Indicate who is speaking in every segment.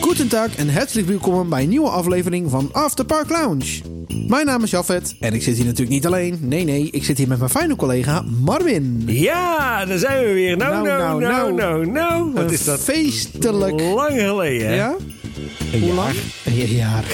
Speaker 1: Goedendag en hartelijk welkom bij een nieuwe aflevering van After Park Lounge. Mijn naam is Jafet en ik zit hier natuurlijk niet alleen. Nee, nee, ik zit hier met mijn fijne collega Marvin.
Speaker 2: Ja, daar zijn we weer. Nou,
Speaker 1: Nou,
Speaker 2: nou,
Speaker 1: nou,
Speaker 2: nou, nou, nou. Wat
Speaker 1: Een
Speaker 2: is dat Oh.
Speaker 1: Feestelijk.
Speaker 2: lang geleden, hè?
Speaker 1: Ja? Hoe lang? Een jaar.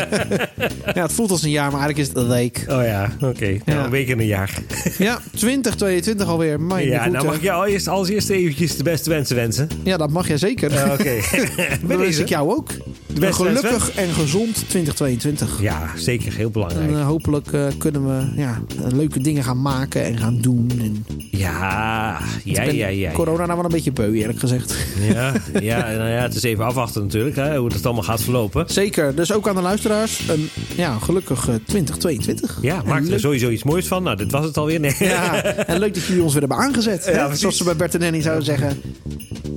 Speaker 1: ja, het voelt als een jaar, maar eigenlijk is het een week.
Speaker 2: Oh ja, oké. Nou,
Speaker 1: Ja.
Speaker 2: een week en een jaar.
Speaker 1: Ja, 2022 alweer. Mijn
Speaker 2: ja,
Speaker 1: goede.
Speaker 2: nou mag ik jou eerst, als eerste eventjes de beste wensen wensen.
Speaker 1: Ja, dat mag jij zeker.
Speaker 2: Eh, oké.
Speaker 1: Dan
Speaker 2: Bij
Speaker 1: wens
Speaker 2: deze.
Speaker 1: ik jou ook. Een
Speaker 2: beste
Speaker 1: gelukkig en gezond 2022.
Speaker 2: Ja, zeker. Heel
Speaker 1: En
Speaker 2: belangrijk.
Speaker 1: eh, hopelijk eh, kunnen we ja, eh, leuke dingen gaan maken en gaan doen. En
Speaker 2: Ja, ja,
Speaker 1: ik ben
Speaker 2: ja, ja. ja.
Speaker 1: corona nou wel een beetje beu, eerlijk gezegd.
Speaker 2: Ja, ja, nou ja, het is even afwachten natuurlijk, hè, hoe dat allemaal gaat verlopen.
Speaker 1: Zeker. Dus ook aan de luisteraars. Een, ja, gelukkig eh, 2022.
Speaker 2: Ja,
Speaker 1: En
Speaker 2: maak er
Speaker 1: leuk-
Speaker 2: sowieso iets moois van. Nou, dit was het alweer. Nee.
Speaker 1: Ja, en leuk dat jullie ons weer hebben aangezet. hè?
Speaker 2: precies.
Speaker 1: Zoals ze bij Bert en Henning zouden zeggen.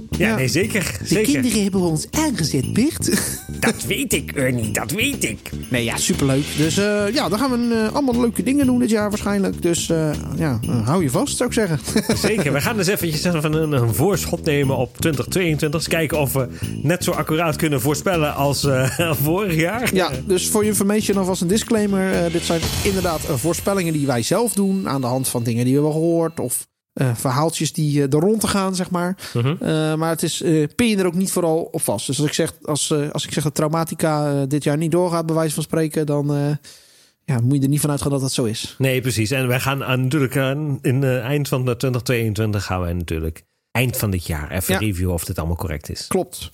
Speaker 2: Ja,
Speaker 1: ja.
Speaker 2: nee, zeker. zeker.
Speaker 1: hebben ons aangezet, Bert.
Speaker 2: Dat weet ik, Ernie. Dat weet ik.
Speaker 1: Nee, ja, superleuk. Dus eh, ja, dan gaan we eh, allemaal leuke dingen doen dit jaar waarschijnlijk. Dus eh, ja, eh, hou je vast, zou ik zeggen.
Speaker 2: Zeker, we gaan dus eventjes even een, een voorschot nemen op 2022. Eens kijken of we net zo accuraat kunnen voorspellen als eh, vorig jaar.
Speaker 1: ja, dus voor je information alvast een disclaimer. Eh, dit zijn inderdaad eh, voorspellingen die wij zelf doen... aan de hand van dingen die we hebben gehoord... of eh, verhaaltjes die eh, er rond te gaan, zeg maar. Eh, maar het is, eh, pin je er ook niet vooral op vast. Dus als ik zeg, als, eh, als ik zeg dat Traumatica eh, dit jaar niet doorgaat... bij wijze van spreken, dan eh, ja, moet je er niet vanuit gaan dat dat zo is.
Speaker 2: Nee, precies. En wij gaan aan- natuurlijk aan, in het eind van de 2022 gaan wij natuurlijk eind van dit jaar even
Speaker 1: Ja.
Speaker 2: reviewen of dit allemaal correct is.
Speaker 1: Klopt.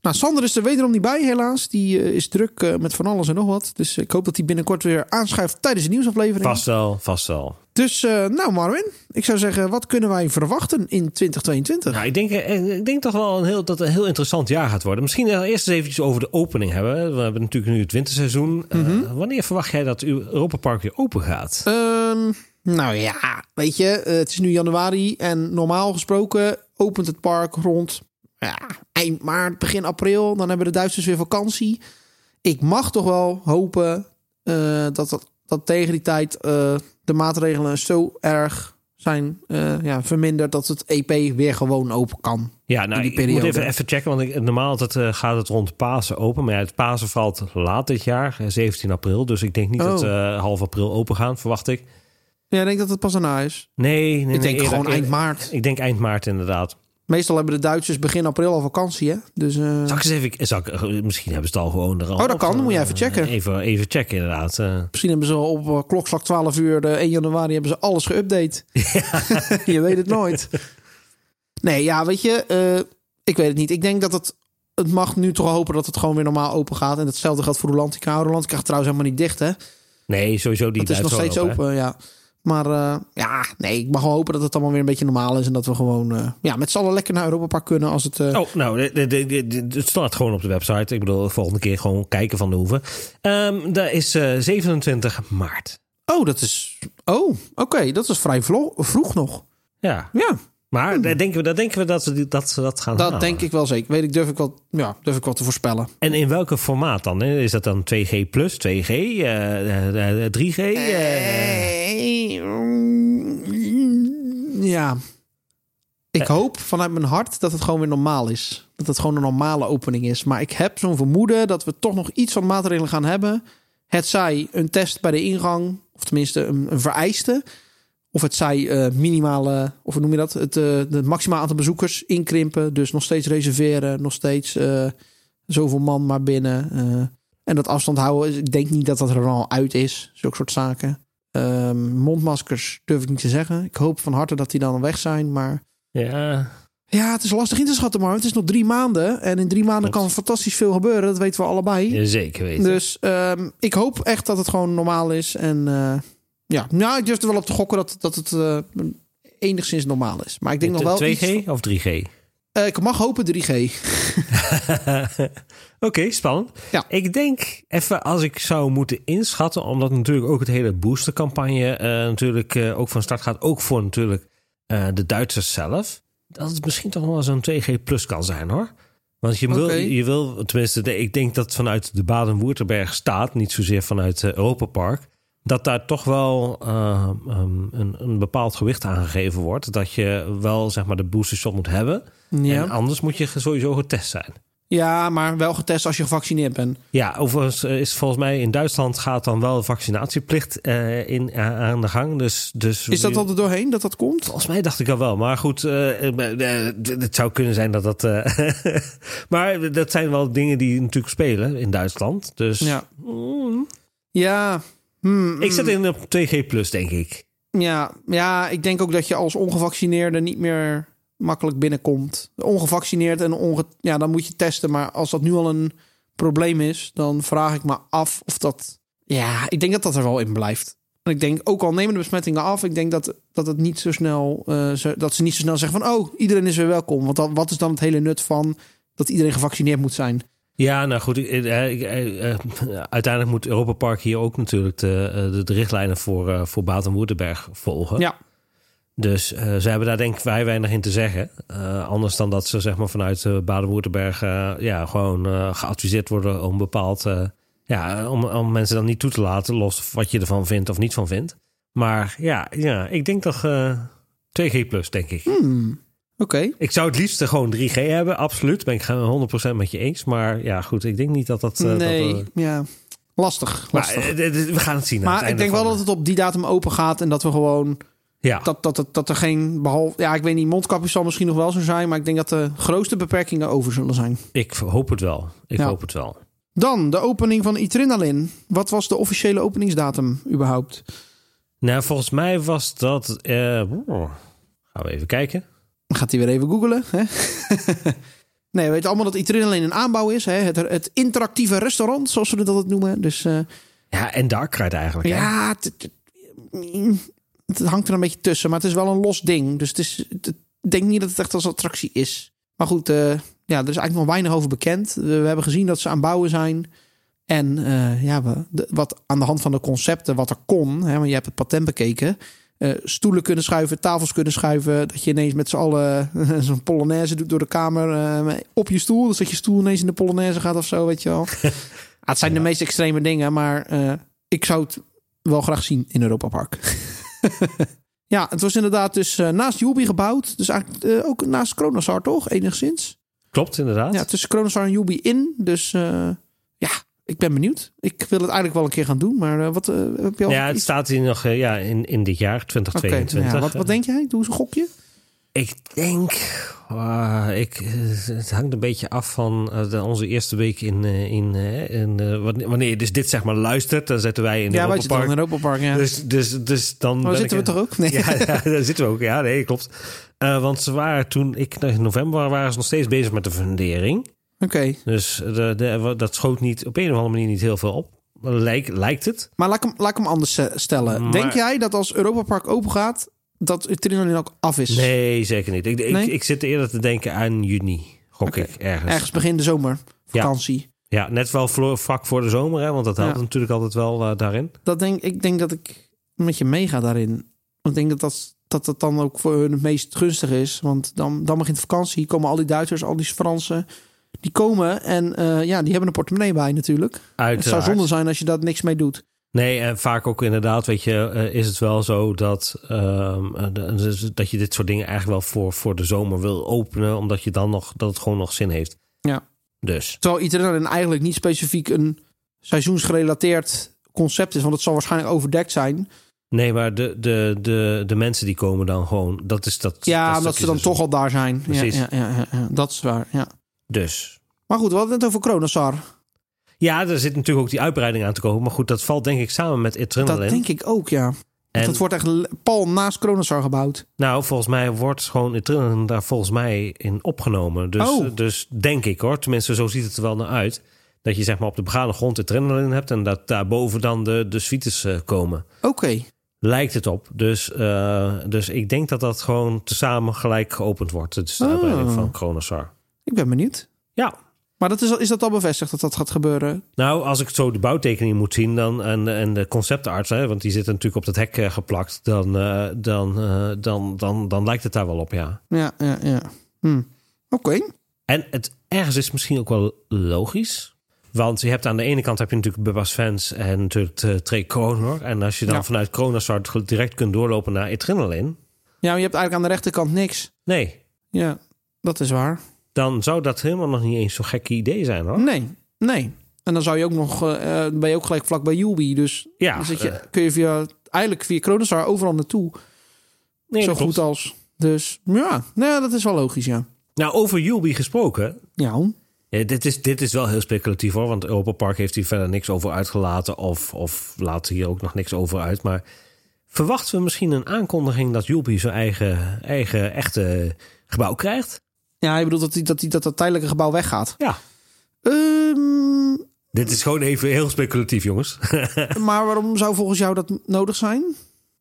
Speaker 1: Nou, Sander is er wederom niet bij, helaas. Die eh, is druk eh, met van alles en nog wat. Dus ik hoop dat hij binnenkort weer aanschuift tijdens de nieuwsaflevering.
Speaker 2: Vast wel, vast wel.
Speaker 1: Dus, eh, nou Marvin, ik zou zeggen, wat kunnen wij verwachten in 2022?
Speaker 2: Nou, ik denk, eh, ik denk toch wel een heel, dat het een heel interessant jaar gaat worden. Misschien eerst eens eventjes over de opening hebben. We hebben natuurlijk nu het winterseizoen. Eh,
Speaker 1: Mhm.
Speaker 2: wanneer verwacht jij dat uw Europa Park weer open gaat?
Speaker 1: Ehm, nou ja, weet je, eh, het is nu januari en normaal gesproken opent het park rond ja, eind maart, begin april. Dan hebben de Duitsers weer vakantie. Ik mag toch wel hopen eh, dat, dat, dat tegen die tijd eh, de maatregelen zo erg zijn eh, ja, verminderd dat het EP weer gewoon open kan.
Speaker 2: Ja, nou,
Speaker 1: in die
Speaker 2: ik moet
Speaker 1: periode.
Speaker 2: even, even checken, want ik, normaal altijd, eh, gaat het rond Pasen open. Maar ja, het Pasen valt laat dit jaar, eh, 17 april. Dus ik denk niet
Speaker 1: Oh.
Speaker 2: dat eh, half april open gaan, verwacht ik.
Speaker 1: Ja, ik denk dat het pas daarna is.
Speaker 2: Nee, nee, nee,
Speaker 1: ik denk
Speaker 2: eerder-
Speaker 1: gewoon eind
Speaker 2: eerder-
Speaker 1: maart.
Speaker 2: Ik denk eind maart inderdaad.
Speaker 1: Meestal hebben de Duitsers begin april al vakantie, hè? Dus, eh,
Speaker 2: Zal ik eens even, zal ik, eh, misschien hebben ze het al gewoon er al
Speaker 1: Oh, dat
Speaker 2: op,
Speaker 1: kan.
Speaker 2: eh,
Speaker 1: Moet je even checken.
Speaker 2: Even, even checken inderdaad. eh.
Speaker 1: Misschien hebben ze op eh, klokslag 12 uur, de 1 januari, hebben ze alles geüpdate. je weet het nooit. Nee, ja, weet je, eh, ik weet het niet. Ik denk dat het, het mag nu toch hopen dat het gewoon weer normaal open gaat. En hetzelfde geldt voor Rolantica. Rolantica gaat trouwens helemaal niet dicht, hè?
Speaker 2: nee, sowieso die
Speaker 1: Het is
Speaker 2: blijft
Speaker 1: nog
Speaker 2: gewoon
Speaker 1: steeds
Speaker 2: open,
Speaker 1: open,
Speaker 2: hè.
Speaker 1: ja. Maar eh, ja, nee, ik mag wel hopen dat het allemaal weer een beetje normaal is. En dat we gewoon eh, ja, met z'n allen lekker naar Europa Park kunnen als het... eh,
Speaker 2: Oh, nou, de- de- de- de- de- het staat gewoon op de website. Ik bedoel, volgende keer gewoon kijken van de hoeven. Ehm dat is eh, 27 maart.
Speaker 1: oh. dat is... Oh, oké, dat is vrij vlo- vroeg nog.
Speaker 2: Ja,
Speaker 1: Ja,
Speaker 2: maar daar denken we, daar denken we dat, ze die- dat ze dat gaan
Speaker 1: Hmm. dat
Speaker 2: halen.
Speaker 1: denk ik wel zeker. Weet ik, durf ik wel, ja, durf ik wel te voorspellen.
Speaker 2: En in welke formaat dan? hè? Is dat dan 2G plus, 2G, eh, eh, eh, 3G? eh?
Speaker 1: Eh, mm, Ja. Ik hoop vanuit mijn hart dat het gewoon weer normaal is. Dat het gewoon een normale opening is. Maar ik heb zo'n vermoeden dat we toch nog iets van maatregelen gaan hebben. Het zij een test bij de ingang, of tenminste een, een vereiste. Of het zij eh, minimale, of hoe noem je dat? Het, eh het maximaal aantal bezoekers inkrimpen. Dus nog steeds reserveren, nog steeds eh, zoveel man maar binnen. eh. en dat afstand houden, is- ik denk niet dat dat er al uit is. Zulke soort zaken. Ehm, mondmaskers durf ik niet te zeggen. Ik hoop van harte dat die dan weg zijn. Maar
Speaker 2: Ja,
Speaker 1: ja, het is lastig in te schatten, maar het is nog drie maanden. En in drie maanden
Speaker 2: Klopt.
Speaker 1: kan fantastisch veel gebeuren. Dat weten we allebei.
Speaker 2: zeker weten.
Speaker 1: Dus ehm, ik hoop echt dat het gewoon normaal is. En eh, ja, nou, ik durf er wel op te gokken dat, dat het eh, enigszins normaal is. Maar ik denk nog wel. iets-
Speaker 2: 2G of 3G?
Speaker 1: Eh, ik mag hopen 3G.
Speaker 2: Eh, Oké, spannend.
Speaker 1: Ja.
Speaker 2: Ik denk even als ik zou moeten inschatten, omdat natuurlijk ook het hele boostercampagne eh, natuurlijk eh, ook van start gaat, ook voor natuurlijk eh, de Duitsers zelf, dat het misschien toch wel zo'n 2G plus kan zijn hoor. Want je wil,
Speaker 1: Oké.
Speaker 2: je wil, tenminste, de- ik denk dat vanuit de Baden-Württemberg staat, niet zozeer vanuit eh, Europa Park, dat daar toch wel eh, ehm, een, een bepaald gewicht aan gegeven wordt. Dat je wel zeg maar de boostershot moet hebben.
Speaker 1: Ja.
Speaker 2: En anders moet je ge- sowieso getest zijn.
Speaker 1: Ja, maar wel getest als je gevaccineerd bent.
Speaker 2: Ja, overigens eh, is volgens mij in Duitsland gaat dan wel vaccinatieplicht eh, in, a- aan de gang. Dus, dus
Speaker 1: Is dat al er doorheen dat dat komt?
Speaker 2: Volgens mij dacht ik al wel. Maar goed, eh, eh, eh, d- het zou kunnen zijn dat dat... eh, maar dat zijn wel dingen die natuurlijk spelen in Duitsland. Dus
Speaker 1: Ja. Ja. Hmm,
Speaker 2: ik zit in op 2G+, plus, denk ik.
Speaker 1: Ja, ja, ik denk ook dat je als ongevaccineerde niet meer makkelijk binnenkomt. Ongevaccineerd en onge ja, dan moet je testen. Maar als dat nu al een probleem is, dan vraag ik me af of dat. Ja, ik denk dat dat er wel in blijft. En ik denk ook al nemen de besmettingen af, ik denk dat, dat, het niet zo snel, eh, ze, dat ze niet zo snel zeggen van: oh, iedereen is weer welkom. Want dan, wat is dan het hele nut van dat iedereen gevaccineerd moet zijn?
Speaker 2: Ja, nou goed. ik- eh, ik- eh, eh, uiteindelijk moet Europa Park hier ook natuurlijk de, eh, de, de richtlijnen voor, eh, voor Baden-Württemberg volgen.
Speaker 1: Ja,
Speaker 2: Dus eh, ze hebben daar denk ik vrij weinig in te zeggen. Eh, anders dan dat ze zeg maar, vanuit eh, Baden-Württemberg eh, ja, gewoon eh, geadviseerd worden om bepaald... eh, ja, om, om mensen dan niet toe te laten, los wat je ervan vindt of niet van vindt. Maar ja, ja ik denk toch eh 2G+, plus, denk ik.
Speaker 1: Hmm. oké.
Speaker 2: Ik zou het liefst eh, gewoon 3G hebben, absoluut. Ben ik het 100% met je eens. Maar ja, goed, ik denk niet dat dat... eh, dat,
Speaker 1: nee,
Speaker 2: eh,
Speaker 1: ja. Lastig.
Speaker 2: maar,
Speaker 1: lastig.
Speaker 2: eh, d- d- we gaan het zien. aan het
Speaker 1: maar ik
Speaker 2: einde
Speaker 1: denk wel
Speaker 2: van-
Speaker 1: dat het op die datum open gaat en dat we gewoon
Speaker 2: Ja.
Speaker 1: dat, dat, dat, dat er geen behalve. Ja, ik weet niet, mondkapjes zal misschien nog wel zo zijn. Maar ik denk dat de grootste beperkingen over zullen zijn.
Speaker 2: Ik hoop het wel. Ik
Speaker 1: Ja.
Speaker 2: hoop het wel.
Speaker 1: Dan de opening van Itrinalin. Wat was de officiële openingsdatum überhaupt?
Speaker 2: Nou, volgens mij was dat... eh, oh, gaan we even kijken.
Speaker 1: Gaat hij weer even googlen? Hè? nee, we weten allemaal dat Itrinalin een aanbouw is. Hè? Het, het interactieve restaurant, zoals ze dat het noemen. Dus eh,
Speaker 2: Ja, en Darkride eigenlijk. hè?
Speaker 1: ja, het, het- mm, het- het hangt er een beetje tussen. Maar het is wel een los ding. Dus het is, het- het- ik denk niet dat het echt als attractie is. Maar goed, eh, ja, er is eigenlijk nog weinig over bekend. Eh, We, we hebben gezien dat ze aan het bouwen zijn. En eh, ja, we, de- wat aan de hand van de concepten, wat er kon, hè, want je hebt het patent bekeken. eh, stoelen kunnen schuiven, tafels kunnen schuiven. Dat je ineens met z'n allen zo'n polonaise doet door de kamer eh, op je stoel. Dus dat je stoel ineens in de polonaise gaat of zo, weet je wel. Ah, het zijn de meest extreme dingen, maar eh, ik zou het wel graag zien in Europa Park. ja, het was inderdaad dus eh, naast Jubi gebouwd. Dus eigenlijk eh, ook naast Kronosar, toch? Enigszins.
Speaker 2: Klopt, inderdaad.
Speaker 1: Ja, tussen Kronosar en Jubi in. Dus eh, ja, ik ben benieuwd. Ik wil het eigenlijk wel een keer gaan doen. Maar eh, wat eh, heb je al...
Speaker 2: Ja, het
Speaker 1: iets?
Speaker 2: staat hier nog eh, ja, in, in dit jaar,
Speaker 1: Oké,
Speaker 2: 2022.
Speaker 1: nou ja, wat, wat denk jij? Doe eens een gokje.
Speaker 2: Ik denk... ah, ik, eh, het hangt een beetje af van eh, de- onze eerste week in... eh, in, eh, in eh, wanneer- wanneer je dus dit zeg maar luistert, dan zitten wij in
Speaker 1: ja, wij
Speaker 2: Europa
Speaker 1: zitten dan
Speaker 2: Park.
Speaker 1: in Europa Park, ja.
Speaker 2: Dus, dus, dus dan
Speaker 1: maar
Speaker 2: ben
Speaker 1: zitten
Speaker 2: ik-
Speaker 1: we toch ook? Nee.
Speaker 2: Ja, ja, daar zitten we ook. Ja, nee, klopt. Eh, want ze waren toen ik in november waren ze nog steeds bezig met de fundering.
Speaker 1: Oké.
Speaker 2: Dus de, de, dat schoot niet op een of andere manier niet heel veel op. Lijkt, lijkt het.
Speaker 1: Maar laat ik, hem, laat ik hem anders eh, stellen.
Speaker 2: Maar-
Speaker 1: Denk jij dat als Europa Park open gaat, dat Utrinolin ook af is?
Speaker 2: Nee, zeker niet. Ik, ik,
Speaker 1: Nee?
Speaker 2: ik zit eerder te denken aan juni, gok ik ergens.
Speaker 1: Ergens begin de zomer, vakantie.
Speaker 2: Ja, net wel vlo- vlak voor de zomer, hè, want dat helpt
Speaker 1: Ja.
Speaker 2: natuurlijk altijd wel eh, daarin.
Speaker 1: dat denk, ik denk dat ik met je meega daarin. Want ik denk dat dat, dat dat dan ook voor hun het meest gunstig is. Want dan, dan begint de vakantie, komen al die Duitsers, al die Fransen. Die komen en eh, ja, die hebben een portemonnee bij natuurlijk. Het zou
Speaker 2: Uiteraard.
Speaker 1: zonde zijn als je daar niks mee doet.
Speaker 2: eh, Nee, en vaak ook inderdaad, weet je, eh, is het wel zo dat, ehm, eh, de- dus dat je dit soort dingen eigenlijk wel voor, voor de zomer wil openen, omdat je dan nog, dat het gewoon nog zin heeft.
Speaker 1: Ja.
Speaker 2: Dus.
Speaker 1: Terwijl iedereen eigenlijk niet specifiek een seizoensgerelateerd concept is. Want het zal waarschijnlijk overdekt zijn.
Speaker 2: Nee, maar de, de, de, de mensen die komen dan gewoon, dat is dat.
Speaker 1: Ja,
Speaker 2: dat
Speaker 1: omdat ze
Speaker 2: stukje dus-
Speaker 1: dan
Speaker 2: seizoen.
Speaker 1: toch al daar zijn. Ja,
Speaker 2: Precies.
Speaker 1: Ja, ja, ja, ja. dat is waar, ja.
Speaker 2: Dus.
Speaker 1: Maar goed, we hadden het net over Kronosar.
Speaker 2: Ja, er zit natuurlijk ook die uitbreiding aan te komen. Maar goed, dat valt denk ik samen met
Speaker 1: Dat
Speaker 2: Adrenaline.
Speaker 1: denk ik ook, ja.
Speaker 2: en,
Speaker 1: Dat wordt echt l- pal naast Kronosar gebouwd.
Speaker 2: Nou, volgens mij wordt gewoon Adrenaline daar volgens mij in opgenomen. Dus,
Speaker 1: Oh.
Speaker 2: dus denk ik hoor. Tenminste, zo ziet het er wel naar uit. Dat je zeg maar op de begane grond Adrenaline hebt. En dat daarboven dan de, de suites eh, komen.
Speaker 1: Oké.
Speaker 2: Lijkt het op. Dus, eh, dus ik denk dat dat gewoon tezamen gelijk geopend wordt. Het is de
Speaker 1: Oh.
Speaker 2: uitbreiding van Kronosar.
Speaker 1: Ik ben benieuwd.
Speaker 2: Ja,
Speaker 1: Maar dat is, al- is dat al bevestigd dat dat gaat gebeuren?
Speaker 2: Nou, als ik zo de bouwtekening moet zien dan, en, en de conceptarts, hè, want die zitten natuurlijk op dat hek eh, geplakt, dan, eh, dan, eh, dan, dan, dan lijkt het daar wel op, ja.
Speaker 1: Ja, ja, ja. Hm. Oké.
Speaker 2: En het ergens is misschien ook wel logisch. Want je hebt aan de ene kant heb je natuurlijk Bubba's fans en natuurlijk eh, Trey Kronor. En als je dan
Speaker 1: Ja.
Speaker 2: vanuit Kronosar direct kunt doorlopen naar Adrenaline.
Speaker 1: Ja, maar je hebt eigenlijk aan de rechterkant niks.
Speaker 2: Nee,
Speaker 1: Ja, dat is waar.
Speaker 2: dan zou dat helemaal nog niet eens zo'n gek idee zijn hoor.
Speaker 1: Nee, nee. En dan zou je ook nog, eh, eh, ben je ook gelijk vlak bij Ubi. Dus
Speaker 2: Ja,
Speaker 1: dan zit je,
Speaker 2: eh,
Speaker 1: kun je via, eigenlijk via Kronostar overal naartoe.
Speaker 2: nee,
Speaker 1: zo
Speaker 2: dat klopt.
Speaker 1: goed als. Dus ja, nou ja, dat is wel logisch, ja.
Speaker 2: Nou, over Yubi gesproken.
Speaker 1: Ja,
Speaker 2: Ja, dit, is, dit is wel heel speculatief hoor, want Europa Park heeft hier verder niks over uitgelaten of, of laat hier ook nog niks over uit. Maar verwachten we misschien een aankondiging dat Yubi zijn eigen, eigen echte gebouw krijgt?
Speaker 1: ja je bedoelt dat, die, dat, die, dat dat tijdelijke gebouw weggaat.
Speaker 2: Ja.
Speaker 1: Ehm,
Speaker 2: Dit is gewoon even heel speculatief, jongens.
Speaker 1: maar waarom zou volgens jou dat nodig zijn?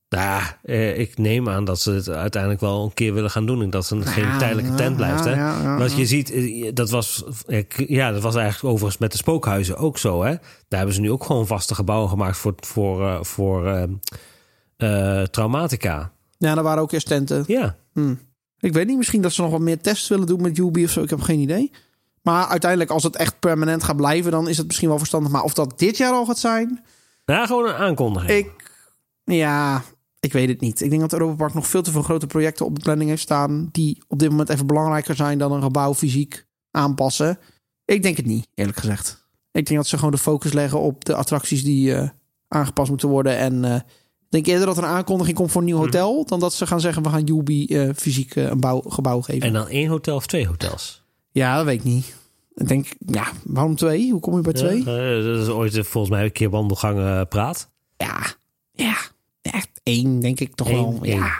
Speaker 2: Nou, ja, eh, ik neem aan dat ze het uiteindelijk wel een keer willen gaan doen. En dat ze geen
Speaker 1: Ja,
Speaker 2: tijdelijke tent
Speaker 1: ja,
Speaker 2: blijft. hè?
Speaker 1: ja, ja,
Speaker 2: Want je ziet, eh, dat was, eh, k- ja, dat was eigenlijk overigens met de spookhuizen ook zo. Hè? Daar hebben ze nu ook gewoon vaste gebouwen gemaakt voor, voor, eh, voor eh, eh, traumatica.
Speaker 1: Ja, daar waren ook eerst tenten.
Speaker 2: Ja,
Speaker 1: Hm. Ik weet niet, misschien dat ze nog wat meer tests willen doen met Ubi of zo. Ik heb geen idee. Maar uiteindelijk, als het echt permanent gaat blijven, dan is het misschien wel verstandig. Maar of dat dit jaar al gaat zijn,
Speaker 2: nou, gewoon een aankondiging.
Speaker 1: ik. Ja, ik weet het niet. Ik denk dat Europa Park nog veel te veel grote projecten op de planning heeft staan. die op dit moment even belangrijker zijn dan een gebouw fysiek aanpassen. Ik denk het niet, eerlijk gezegd. Ik denk dat ze gewoon de focus leggen op de attracties die eh, aangepast moeten worden. En eh, ik denk eerder dat er een aankondiging komt voor een nieuw hotel. dan dat ze gaan zeggen: we gaan Ubi eh, fysiek eh, een bouw, gebouw geven.
Speaker 2: En dan één hotel of twee hotels.
Speaker 1: Ja, dat weet ik niet. Ik denk, ja, waarom twee? Hoe kom je bij twee?
Speaker 2: Ja, eh, dat is ooit eh, volgens mij een keer wandelgangen praat.
Speaker 1: Ja, ja. Echt één, denk ik toch
Speaker 2: Eén,
Speaker 1: wel. Ja.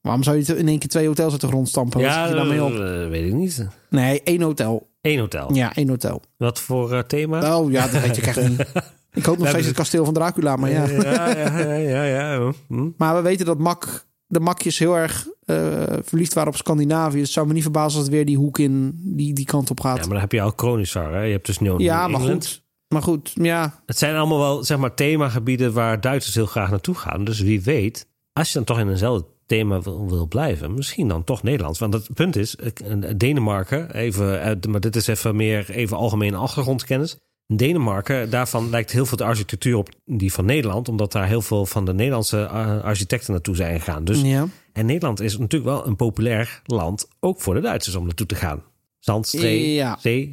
Speaker 1: Waarom zou je in één keer twee hotels uit de grond stampen? Wat schiet je daarmee op?
Speaker 2: eh, weet ik niet.
Speaker 1: Nee, één hotel.
Speaker 2: Eén hotel.
Speaker 1: Ja, één hotel.
Speaker 2: Wat voor eh, thema?
Speaker 1: Oh ja, dat weet ik echt niet. Ik hoop nog steeds het kasteel van Dracula, maar dus- ja.
Speaker 2: ja, ja, ja, ja, ja. Hm.
Speaker 1: Maar we weten dat Mak, de Makjes heel erg eh, verliefd waren op Scandinavië. Dus het zou me niet verbazen als het weer die hoek in die, die kant op gaat.
Speaker 2: Ja,
Speaker 1: Ja,
Speaker 2: maar dan heb je al Kronisar, hè? Je hebt dus New
Speaker 1: maar,
Speaker 2: New England.
Speaker 1: goed. Maar goed, ja.
Speaker 2: Het zijn allemaal wel, zeg maar, themagebieden waar Duitsers heel graag naartoe gaan. Dus wie weet, als je dan toch in eenzelfde thema wil, wil blijven, misschien dan toch Nederlands. Want het punt is, eh, Denemarken, even, eh, maar dit is even meer even algemene achtergrondkennis. Denemarken, daarvan lijkt heel veel de architectuur op die van Nederland, omdat daar heel veel van de Nederlandse eh, architecten naartoe zijn gegaan. Dus
Speaker 1: ja.
Speaker 2: En Nederland is natuurlijk wel een populair land, ook voor de Duitsers om naartoe te gaan. Zandstree,
Speaker 1: Ja.
Speaker 2: zee.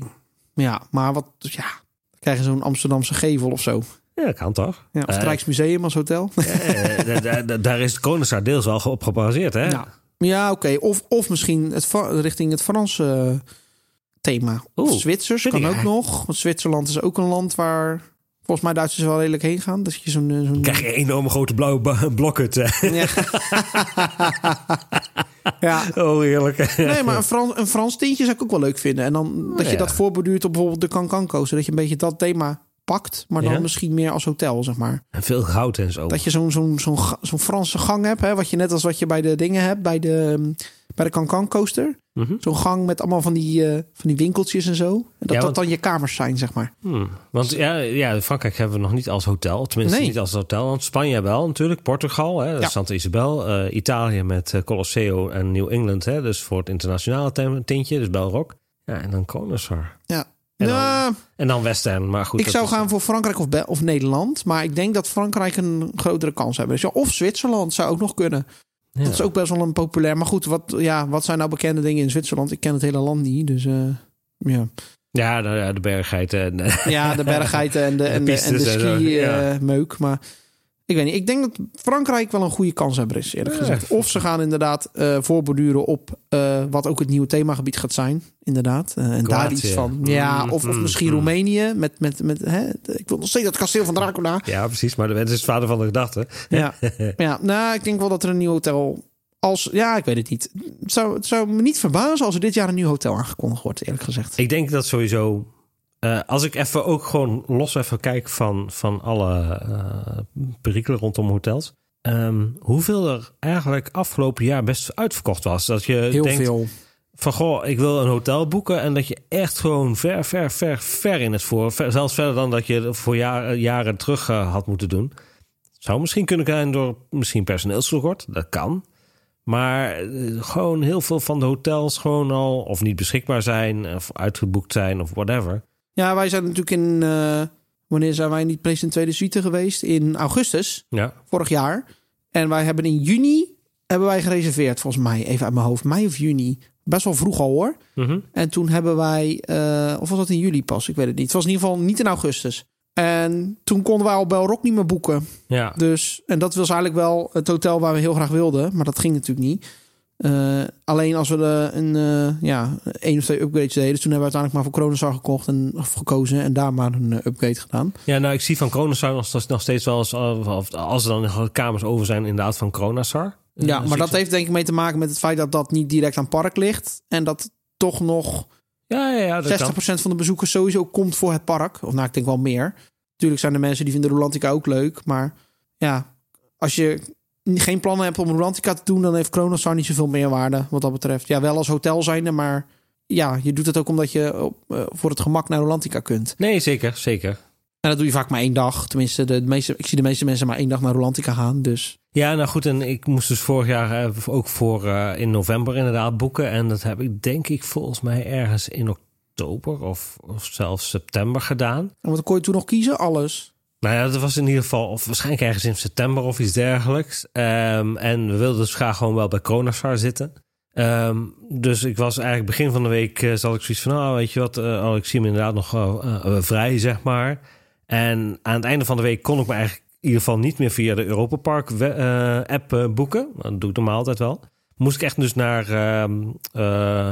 Speaker 1: Ja, maar wat, ja. Dan krijgen ze zo'n Amsterdamse gevel of zo.
Speaker 2: Ja, kan toch?
Speaker 1: Ja, of het
Speaker 2: Eh,
Speaker 1: Rijksmuseum als hotel.
Speaker 2: eh, da- da- da- daar is het Koningszaal deels wel op gebaseerd, hè?
Speaker 1: Ja, ja oké. Of, of misschien het, Fra- richting het Franse eh, thema. Of
Speaker 2: Oeh,
Speaker 1: Zwitsers
Speaker 2: vind
Speaker 1: kan
Speaker 2: ik
Speaker 1: ook nog. Want Zwitserland is ook een land waar volgens mij Duitsers wel redelijk heen gaan. Dat je zo'n... eh, zo'n-
Speaker 2: Dan krijg je een enorme grote blauwe ba- blokhut. eh.
Speaker 1: Ja. ja.
Speaker 2: Oh, heerlijk.
Speaker 1: Nee, maar een Frans, een Frans tintje zou ik ook wel leuk vinden. En dan dat je
Speaker 2: Oh, ja.
Speaker 1: dat voorborduurt op bijvoorbeeld de Cancanco. Zodat je een beetje dat thema pakt. Maar dan
Speaker 2: Ja.
Speaker 1: misschien meer als hotel, zeg maar.
Speaker 2: En veel goud en zo.
Speaker 1: Dat je zo'n zo'n zo'n ga- zo'n Franse gang hebt. Hè? Wat je net als wat je bij de dingen hebt. Bij de, ehm, bij de Cancan Coaster.
Speaker 2: Mhm.
Speaker 1: Zo'n gang met allemaal van die, eh, van die winkeltjes en zo. En dat
Speaker 2: Ja,
Speaker 1: dat
Speaker 2: want-
Speaker 1: dan je kamers zijn, zeg maar.
Speaker 2: Hmm. Want ja, ja, Frankrijk hebben we nog niet als hotel. Tenminste,
Speaker 1: Nee.
Speaker 2: niet als hotel. Want Spanje wel natuurlijk. Portugal, hè,
Speaker 1: Ja.
Speaker 2: Santa Isabel. eh, Italië met eh, Colosseo en New England. Hè, dus voor het internationale tem- tintje, dus Belrock. Ja, en dan Koningszaal.
Speaker 1: Ja.
Speaker 2: En
Speaker 1: Nou,
Speaker 2: En dan Western, maar goed.
Speaker 1: ik
Speaker 2: dat dus
Speaker 1: zou
Speaker 2: is-
Speaker 1: gaan voor Frankrijk of, Bel- of Nederland. Maar ik denk dat Frankrijk een grotere kans hebben. Dus ja, of Zwitserland zou ook nog kunnen.
Speaker 2: Ja.
Speaker 1: Dat is ook best wel een populair. Maar goed, wat, ja, wat zijn nou bekende dingen in Zwitserland? Ik ken het hele land niet. Dus eh, ja.
Speaker 2: Ja, nou ja, de berggeit. En,
Speaker 1: Ja, de berggeiten en de, en de, en de
Speaker 2: pistes en zo, ja.
Speaker 1: ski-meuk. maar ik weet niet. Ik denk dat Frankrijk wel een goede kanshebber is, eerlijk
Speaker 2: Ja.
Speaker 1: gezegd. Of ze gaan inderdaad eh, voorborduren op eh, wat ook het nieuwe themagebied gaat zijn. Inderdaad. Eh, en daar
Speaker 2: Kroatië.
Speaker 1: iets van. Ja,
Speaker 2: Mm,
Speaker 1: of, of
Speaker 2: mm,
Speaker 1: misschien
Speaker 2: mm.
Speaker 1: Roemenië. Met, met, met, hè, ik wil nog steeds dat kasteel van Dracula.
Speaker 2: ja, precies. Maar de mens is het vader van de gedachte.
Speaker 1: Ja. ja, nou, ik denk wel dat er een nieuw hotel... Als, ja, ik weet het niet. Het zou, het zou me niet verbazen als er dit jaar een nieuw hotel aangekondigd wordt, eerlijk gezegd.
Speaker 2: Ik denk dat sowieso. eh, als ik even ook gewoon los even kijk van, van alle eh perikelen rondom hotels. ehm, hoeveel er eigenlijk afgelopen jaar best uitverkocht was. Dat je
Speaker 1: Heel
Speaker 2: denkt
Speaker 1: veel.
Speaker 2: van goh, ik wil een hotel boeken. En dat je echt gewoon ver, ver, ver, ver in het voor. ver- zelfs verder dan dat je voor jaar- jaren terug eh, had moeten doen. Zou misschien kunnen zijn door misschien personeelstekort. Dat kan. Maar eh, gewoon heel veel van de hotels gewoon al of niet beschikbaar zijn of uitgeboekt zijn of whatever.
Speaker 1: Ja, wij zijn natuurlijk in. eh, wanneer zijn wij in die Place in Tweede Suite geweest? In augustus
Speaker 2: Ja,
Speaker 1: vorig jaar. En wij hebben in juni hebben wij gereserveerd, volgens mij, even uit mijn hoofd. Mei of juni. Best wel vroeg al hoor.
Speaker 2: Mhm.
Speaker 1: En toen hebben wij, eh, of was dat in juli pas? Ik weet het niet. Het was in ieder geval niet in augustus. En toen konden wij al Belrock niet meer boeken.
Speaker 2: Ja.
Speaker 1: Dus, en dat was eigenlijk wel het hotel waar we heel graag wilden. Maar dat ging natuurlijk niet. Eh, alleen als we de, een, eh, ja, één of twee upgrades deden. Dus toen hebben we uiteindelijk maar voor Kronenzar gekocht en of gekozen. En daar maar een eh, upgrade gedaan.
Speaker 2: ja, nou, ik zie van Coronasar nog, nog steeds wel eens... eh, of- als er dan kamers over zijn, inderdaad, van Coronasar. Eh,
Speaker 1: Ja,
Speaker 2: dus
Speaker 1: maar
Speaker 2: ik
Speaker 1: dat
Speaker 2: zeg-
Speaker 1: heeft denk ik mee te maken met het feit dat dat niet direct aan het park ligt. En dat toch nog 60%
Speaker 2: Ja, ja, ja, dat kan.
Speaker 1: van de bezoekers sowieso komt voor het park. Of nou, ik denk wel meer. Natuurlijk zijn er mensen die vinden Rolantica ook leuk. Maar ja, als je geen plannen hebt om Rolantica te doen... dan heeft Kronosar niet zoveel meerwaarde wat dat betreft. Ja, wel als hotel zijnde, maar ja, je doet het ook omdat je op, eh, voor het gemak naar Rolantica kunt.
Speaker 2: Nee, zeker, zeker.
Speaker 1: En dat doe je vaak maar één dag. Tenminste, de meeste, ik zie de meeste mensen maar één dag naar Rolantica gaan. Dus
Speaker 2: Ja, nou goed, en ik moest dus vorig jaar eh, ook voor eh, in november inderdaad boeken. En dat heb ik denk ik volgens mij ergens in oktober of, of zelfs september gedaan.
Speaker 1: en wat kon je toen nog kiezen? Alles.
Speaker 2: Nou ja, dat was in ieder geval of waarschijnlijk ergens in september of iets dergelijks. Ehm, en we wilden dus graag gewoon wel bij Kronasar zitten. Ehm, dus ik was eigenlijk begin van de week eh, zat ik zoiets van, nou weet je wat, eh, oh, ik zie hem inderdaad nog eh, eh, eh, vrij, zeg maar. En aan het einde van de week kon ik me eigenlijk in ieder geval niet meer via de Europa Park we- eh, app eh, boeken. Dat doe ik normaal altijd wel. Moest ik echt dus naar, ehm, eh,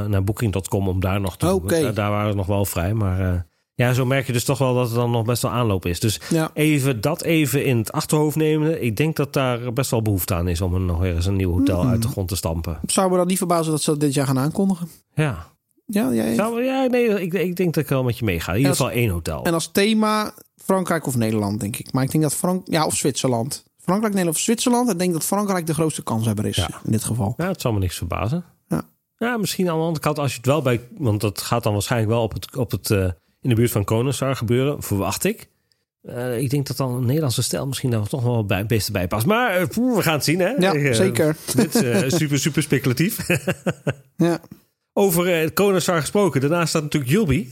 Speaker 2: naar booking.com om daar nog te
Speaker 1: Oké.
Speaker 2: boeken. Eh, daar waren ze nog wel vrij, maar eh, ja, zo merk je dus toch wel dat er dan nog best wel aanloop is. Dus
Speaker 1: Ja.
Speaker 2: Even dat even in het achterhoofd nemen. Ik denk dat daar best wel behoefte aan is om er nog weer eens een nieuw hotel
Speaker 1: Mhm.
Speaker 2: uit de grond te stampen.
Speaker 1: Zou me dan niet verbazen dat ze dat dit jaar gaan aankondigen?
Speaker 2: Ja,
Speaker 1: Ja, jij.
Speaker 2: Zou- ja nee, ik, ik denk dat ik wel met je meega. In ieder
Speaker 1: En als-
Speaker 2: geval één hotel.
Speaker 1: En als thema Frankrijk of Nederland, denk ik. Maar ik denk dat Frank, ja, of Zwitserland. Frankrijk, Nederland of Zwitserland. Ik denk dat Frankrijk de grootste kanshebber is
Speaker 2: Ja.
Speaker 1: in dit geval.
Speaker 2: Ja, het zal me niks verbazen.
Speaker 1: Ja.
Speaker 2: Ja, misschien aan de andere kant als je het wel bij... Want dat gaat dan waarschijnlijk wel op het, op het, eh, in de buurt van Koningsar gebeuren. Verwacht ik. Eh, ik denk dat dan een Nederlandse stijl misschien daar toch wel bij, het beste bij past. Maar eh, poeh, we gaan het zien, hè?
Speaker 1: Ja,
Speaker 2: Eh,
Speaker 1: zeker.
Speaker 2: Dit is eh, super, super speculatief.
Speaker 1: Ja,
Speaker 2: Over eh, het Koningsar gesproken. Daarnaast staat natuurlijk Julbi.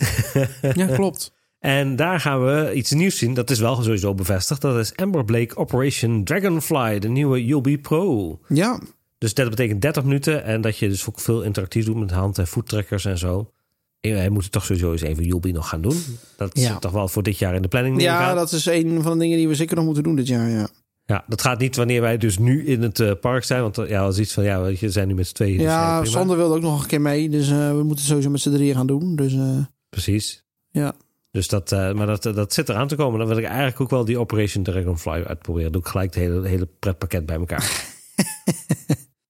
Speaker 1: ja klopt.
Speaker 2: En daar gaan we iets nieuws zien. Dat is wel sowieso bevestigd. Dat is Amber Blake Operation Dragonfly, de nieuwe Yubi Pro.
Speaker 1: Ja,
Speaker 2: Dus dat betekent 30 minuten. En dat je dus ook veel interactief doet met hand- en voettrekkers en zo. En Wij moeten toch sowieso eens even Yubi nog gaan doen. Dat
Speaker 1: Ja.
Speaker 2: is toch wel voor dit jaar in de planning. neem ik
Speaker 1: ja
Speaker 2: aan.
Speaker 1: dat is een van de dingen die we zeker nog moeten doen dit jaar. Ja,
Speaker 2: ja, dat gaat niet wanneer wij dus nu in het eh, park zijn. Want eh, ja, als iets van, ja, weet je, we zijn nu met z'n tweeën. dus, eh,
Speaker 1: ja
Speaker 2: prima.
Speaker 1: Sander wilde ook nog een keer mee. Dus eh, we moeten het sowieso met z'n drieën gaan doen. Dus eh,
Speaker 2: Precies.
Speaker 1: ja.
Speaker 2: Dus dat, eh, maar dat, dat zit eraan te komen. Dan wil ik eigenlijk ook wel die Operation Dragonfly uitproberen. Doe ik gelijk het hele, hele pretpakket bij elkaar.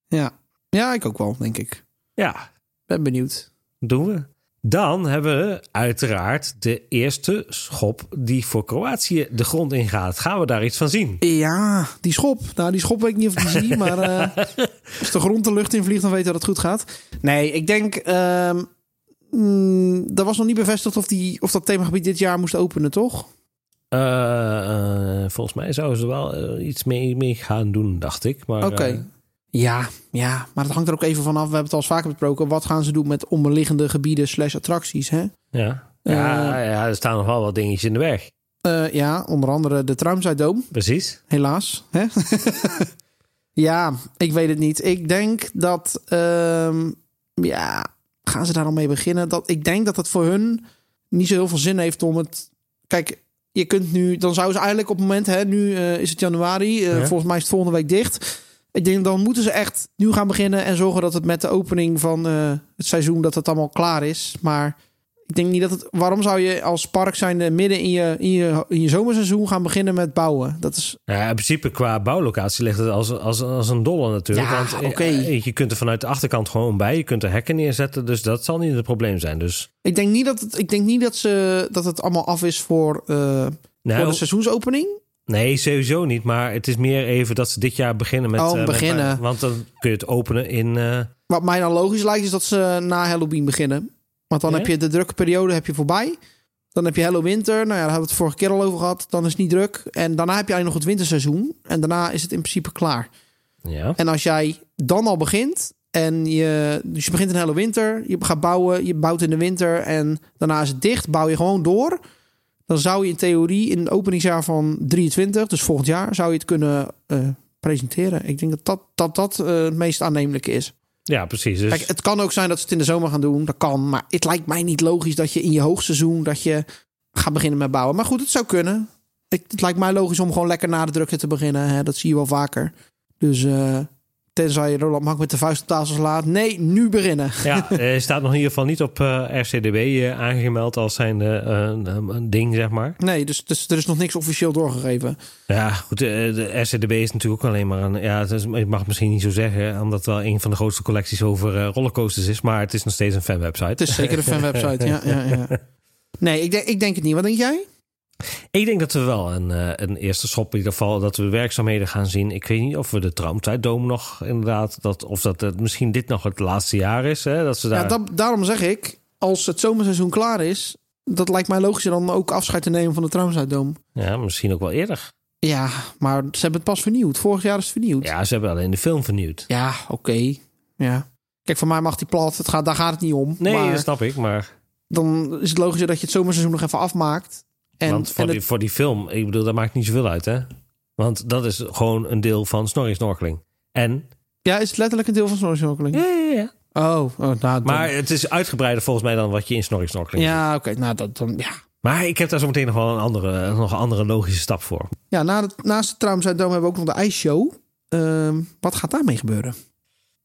Speaker 1: ja. Ja, ik ook wel, denk ik.
Speaker 2: Ja,
Speaker 1: Ben benieuwd.
Speaker 2: doen we. Dan hebben we uiteraard de eerste schop die voor Kroatië de grond ingaat. Gaan we daar iets van zien?
Speaker 1: Ja, die schop. Nou, die schop weet ik niet of ik die zie, maar eh, als de grond de lucht in vliegt, dan weet je dat het goed gaat. Nee, ik denk, ehm mm, er was nog niet bevestigd of, die, of dat themagebied dit jaar moest openen, toch?
Speaker 2: Eh, eh, volgens mij zouden ze er wel eh, iets mee, mee gaan doen, dacht ik. Maar,
Speaker 1: Oké.
Speaker 2: eh,
Speaker 1: Ja, ja, maar dat hangt er ook even vanaf. We hebben het al eens vaker besproken. Wat gaan ze doen met omliggende gebieden slash attracties, hè?
Speaker 2: ja. Ja, ja, er staan nog wel wat dingetjes in de weg.
Speaker 1: Eh, ja, onder andere de Traumzijdoom.
Speaker 2: Precies.
Speaker 1: helaas. Hè? ja, ik weet het niet. Ik denk dat. ehm, ja, gaan ze daar al mee beginnen? Dat, ik denk dat het voor hun niet zo heel veel zin heeft om het. Kijk, je kunt nu. Dan zouden ze eigenlijk op het moment. Hè, nu eh, is het januari. eh,
Speaker 2: Ja.
Speaker 1: Volgens mij is het volgende week dicht. Ik denk dan moeten ze echt nu gaan beginnen. En zorgen dat het met de opening van eh, het seizoen. dat het allemaal klaar is. Maar ik denk niet dat het. Waarom zou je als park zijnde midden in je, in, je, in je zomerseizoen gaan beginnen met bouwen? Dat is.
Speaker 2: Ja, in principe qua bouwlocatie ligt het als, als, als een dolle natuurlijk.
Speaker 1: Ja,
Speaker 2: Want eh,
Speaker 1: oké.
Speaker 2: eh, je kunt er vanuit de achterkant gewoon bij. Je kunt er hekken neerzetten. Dus dat zal niet het probleem zijn. Dus,
Speaker 1: Ik denk niet dat het, ik denk niet dat ze, dat het allemaal af is voor, eh, voor
Speaker 2: nou,
Speaker 1: de seizoensopening.
Speaker 2: nee, sowieso niet. Maar het is meer even dat ze dit jaar beginnen met...
Speaker 1: Oh,
Speaker 2: eh, met-
Speaker 1: beginnen.
Speaker 2: want dan kun je het openen in... eh,
Speaker 1: Wat mij dan logisch lijkt, is dat ze na Halloween beginnen. Want dan
Speaker 2: Ja?
Speaker 1: heb je de drukke periode heb je voorbij. Dan heb je Hello Winter. Nou ja, daar hebben we het vorige keer al over gehad. Dan is het niet druk. En daarna heb je eigenlijk nog het winterseizoen. En daarna is het in principe klaar.
Speaker 2: ja.
Speaker 1: En als jij dan al begint. En je, dus je begint in hele winter. Je gaat bouwen. Je bouwt in de winter. En daarna is het dicht. Bouw je gewoon door. Dan zou je in theorie in het openingsjaar van 23, dus volgend jaar, zou je het kunnen eh, presenteren. Ik denk dat dat, dat, dat eh, het meest aannemelijke is.
Speaker 2: Ja, precies. Dus
Speaker 1: Kijk, het kan ook zijn dat ze het in de zomer gaan doen. Dat kan. Maar het lijkt mij niet logisch dat je in je hoogseizoen dat je gaat beginnen met bouwen. Maar goed, het zou kunnen. Ik, het lijkt mij logisch om gewoon lekker na de drukte te beginnen. Hè? Dat zie je wel vaker. Dus eh, tenzij je Roland Mak met de vuist op tafel slaat. Nee, nu beginnen.
Speaker 2: ja, eh, hij staat nog in ieder geval niet op eh, RCDB eh, aangemeld als zijn eh, een- een ding, zeg maar.
Speaker 1: Nee, dus, dus er is nog niks officieel doorgegeven.
Speaker 2: Ja, goed, eh, de RCDB is natuurlijk ook alleen maar een... Ja, het is- ik mag het misschien niet zo zeggen, omdat het wel een van de grootste collecties over eh, rollercoasters is. Maar het is nog steeds een fanwebsite.
Speaker 1: Het is zeker een fanwebsite. Ja, ja, ja. Nee, ik denk, ik denk het niet. Wat denk jij?
Speaker 2: Ik denk dat we wel een, eh, een eerste schop in ieder geval dat we werkzaamheden gaan zien. Ik weet niet of we de Traumtijddoom nog inderdaad dat of dat het misschien dit nog het laatste jaar is. Hè, dat ze daar.
Speaker 1: Ja, Nou, dat, daarom zeg ik, als het zomerseizoen klaar is, dat lijkt mij logischer dan ook afscheid te nemen van de Traumzuiddoom.
Speaker 2: ja, misschien ook wel eerder.
Speaker 1: Ja, maar ze hebben het pas vernieuwd. Vorig jaar is het vernieuwd.
Speaker 2: Ja, ze hebben alleen de film vernieuwd.
Speaker 1: Ja, oké. Ja. Kijk, voor mij mag die plat. Het gaat, daar gaat het niet om.
Speaker 2: Nee, dus-
Speaker 1: maar
Speaker 2: dat snap ik. Maar
Speaker 1: dan is het logischer dat je het zomerseizoen nog even afmaakt. En,
Speaker 2: want voor,
Speaker 1: en
Speaker 2: die,
Speaker 1: het-
Speaker 2: voor die film, ik bedoel, dat maakt niet zoveel uit, hè? Want dat is gewoon een deel van Snorri Snorkeling. En
Speaker 1: ja, is het letterlijk een deel van snorkelcirkeling?
Speaker 2: ja, ja, ja.
Speaker 1: Oh, oh, nou, dan-
Speaker 2: Maar het is uitgebreider volgens mij dan wat je in Snorri Snorkeling. ziet.
Speaker 1: ja, oké. nou, dat dan ja.
Speaker 2: Maar ik heb daar zo meteen nog wel een andere, nog een andere logische stap voor.
Speaker 1: Ja, na het, naast het Traumzuiddoom hebben we ook nog de ijsshow. Ehm, wat gaat daarmee gebeuren?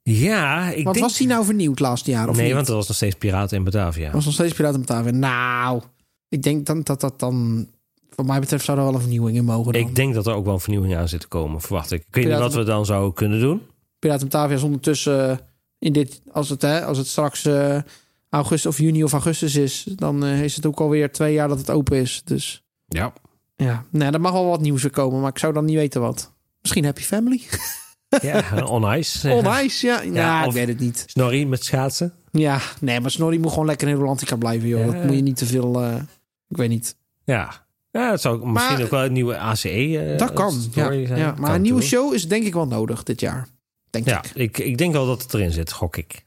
Speaker 2: Ja, ik
Speaker 1: Want
Speaker 2: denk.
Speaker 1: was die nou vernieuwd laatste jaar? Of
Speaker 2: nee,
Speaker 1: niet?
Speaker 2: want er was nog steeds Piraten in Batavia.
Speaker 1: was nog steeds Piraten met Batavia. Nou, ik denk dan, dat dat dan... Wat mij betreft zou er wel een vernieuwing in mogen. Dan.
Speaker 2: Ik denk dat er ook wel een vernieuwing aan zit te komen, verwacht ik. Ik weet niet
Speaker 1: Piraten-
Speaker 2: wat we dan zouden kunnen doen.
Speaker 1: Piraten Batavia is ondertussen eh, in dit, als het, hè, als het straks eh, augustus of juni of augustus is, dan eh, is het ook alweer twee jaar dat het open is. Dus
Speaker 2: Ja.
Speaker 1: ja, nee, er mag wel wat nieuws weer komen, maar ik zou dan niet weten wat. Misschien Happy Family?
Speaker 2: ja on ice.
Speaker 1: On Ice, ja. ja,
Speaker 2: Ja,
Speaker 1: ik
Speaker 2: of-
Speaker 1: weet het niet.
Speaker 2: Snorri met schaatsen.
Speaker 1: Ja, nee, maar Snorri moet gewoon lekker in Rolantica blijven, joh.
Speaker 2: Ja.
Speaker 1: Dat moet je niet te veel... eh, ik weet niet.
Speaker 2: Ja. Ja, het zou misschien ook wel een nieuwe ACE eh,
Speaker 1: dat kan, ja.
Speaker 2: story zijn.
Speaker 1: ja.
Speaker 2: Kan
Speaker 1: Maar een nieuwe
Speaker 2: natuurlijk.
Speaker 1: show is denk ik wel nodig dit jaar. Denk
Speaker 2: Ja,
Speaker 1: ik.
Speaker 2: ik, ik denk wel dat het erin zit, gok ik.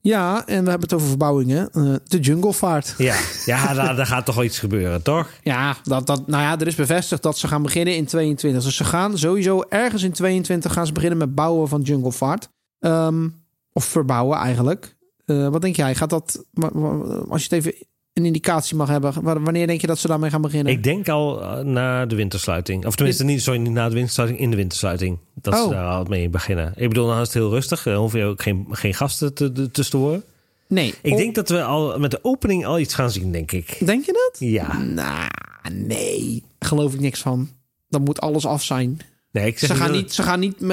Speaker 1: Ja, en we hebben het over verbouwingen. Eh, de junglevaart.
Speaker 2: Ja, ja daar, daar gaat toch wel iets gebeuren, toch?
Speaker 1: Ja, dat, dat, nou ja, er is bevestigd dat ze gaan beginnen in 22. Dus ze gaan sowieso ergens in 22 gaan ze beginnen met bouwen van Jungle Fart. Ehm, of verbouwen eigenlijk. Eh, wat denk jij? Gaat dat, wa- wa- als je het even een indicatie mag hebben, wa- wanneer denk je dat ze daarmee gaan beginnen?
Speaker 2: Ik denk al eh, na de wintersluiting. Of tenminste, niet, sorry, niet na de wintersluiting, in de wintersluiting. Dat
Speaker 1: Oh.
Speaker 2: ze daar al mee beginnen. Ik bedoel, dan is het heel rustig. Dan hoef je ook geen, geen gasten te, te storen.
Speaker 1: nee.
Speaker 2: Ik
Speaker 1: Of-
Speaker 2: denk dat we al met de opening al iets gaan zien, denk ik.
Speaker 1: denk je dat?
Speaker 2: Ja.
Speaker 1: Nou, nee. Geloof ik niks van. Dan moet alles af zijn.
Speaker 2: Nee, ik zeg
Speaker 1: Ze gaan
Speaker 2: dat-
Speaker 1: niet, ze gaan niet eh,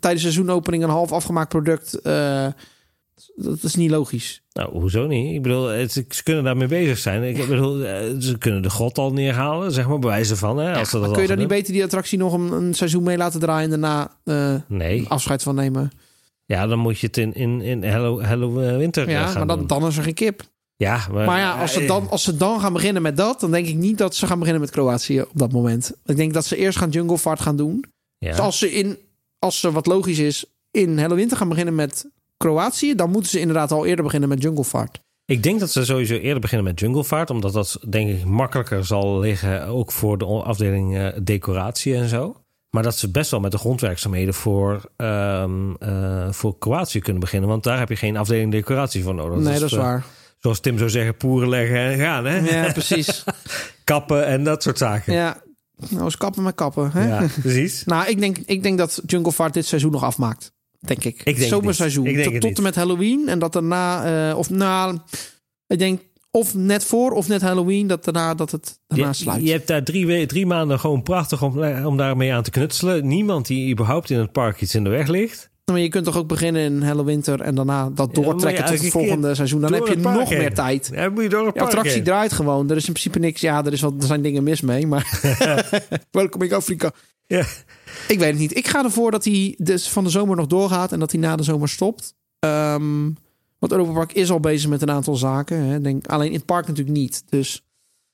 Speaker 1: tijdens seizoenopening een half afgemaakt product. eh, dat is niet logisch.
Speaker 2: Nou, hoezo niet? Ik bedoel, het, ze kunnen daarmee bezig zijn. Ik bedoel, eh, ze kunnen de god al neerhalen, zeg maar, bewijzen van. Hè, als ze
Speaker 1: Maar
Speaker 2: dat
Speaker 1: kun je
Speaker 2: al
Speaker 1: dan niet
Speaker 2: doen.
Speaker 1: beter die attractie nog een, een seizoen mee laten draaien en daarna eh,
Speaker 2: Nee.
Speaker 1: afscheid van nemen?
Speaker 2: Ja, dan moet je het in, in, in Hello, Hello eh, Winter eh,
Speaker 1: Ja,
Speaker 2: gaan
Speaker 1: maar dan,
Speaker 2: doen.
Speaker 1: dan is er geen kip.
Speaker 2: Ja, maar,
Speaker 1: Maar ja, als ze,
Speaker 2: eh,
Speaker 1: dan, als ze dan gaan beginnen met dat, dan denk ik niet dat ze gaan beginnen met Kroatië op dat moment. Ik denk dat ze eerst gaan Jungle Fart gaan doen.
Speaker 2: ja.
Speaker 1: Dus als ze, in, als ze wat logisch is, in Hello Winter gaan beginnen met Kroatië, dan moeten ze inderdaad al eerder beginnen met Jungle Fart.
Speaker 2: Ik denk dat ze sowieso eerder beginnen met Junglevaart. Omdat dat, denk ik, makkelijker zal liggen. Ook voor de afdeling eh, decoratie en zo. Maar dat ze best wel met de grondwerkzaamheden voor, ehm, eh, voor Kroatië kunnen beginnen. Want daar heb je geen afdeling decoratie voor nodig.
Speaker 1: nee, dat is
Speaker 2: eh,
Speaker 1: waar.
Speaker 2: zoals Tim zou zeggen, poeren leggen en gaan. Hè?
Speaker 1: Ja, precies.
Speaker 2: Kappen en dat soort zaken.
Speaker 1: Ja, nou is kappen met kappen. Hè?
Speaker 2: Ja, precies.
Speaker 1: Nou, ik denk, ik denk dat Jungle Fart dit seizoen nog afmaakt. Denk ik.
Speaker 2: denk het
Speaker 1: Zomerseizoen.
Speaker 2: niet. Ik
Speaker 1: tot,
Speaker 2: denk het
Speaker 1: tot
Speaker 2: niet.
Speaker 1: en met Halloween. En dat daarna, eh, of na, ik denk of net voor of net Halloween, dat daarna dat het daarna
Speaker 2: Je,
Speaker 1: sluit.
Speaker 2: je hebt daar drie, we- drie maanden gewoon prachtig om, eh, om daarmee aan te knutselen. Niemand die überhaupt in het park iets in de weg ligt.
Speaker 1: Maar je kunt toch ook beginnen in Hallowinter en daarna dat
Speaker 2: maar
Speaker 1: doortrekken
Speaker 2: ja,
Speaker 1: tot
Speaker 2: elke
Speaker 1: het volgende
Speaker 2: keer
Speaker 1: seizoen. Dan
Speaker 2: door
Speaker 1: heb je
Speaker 2: het park
Speaker 1: nog
Speaker 2: heen.
Speaker 1: meer tijd.
Speaker 2: Ja, moet je door het
Speaker 1: De
Speaker 2: park
Speaker 1: attractie
Speaker 2: heen.
Speaker 1: draait gewoon. Er is in principe niks. Ja, er, is wat, er zijn dingen mis mee, maar... Welkom in Afrika.
Speaker 2: Ja.
Speaker 1: Ik weet het niet. Ik ga ervoor dat hij dus van de zomer nog doorgaat en dat hij na de zomer stopt. Ehm, want Europa Park is al bezig met een aantal zaken. Hè. Denk, alleen in het park natuurlijk niet. Dus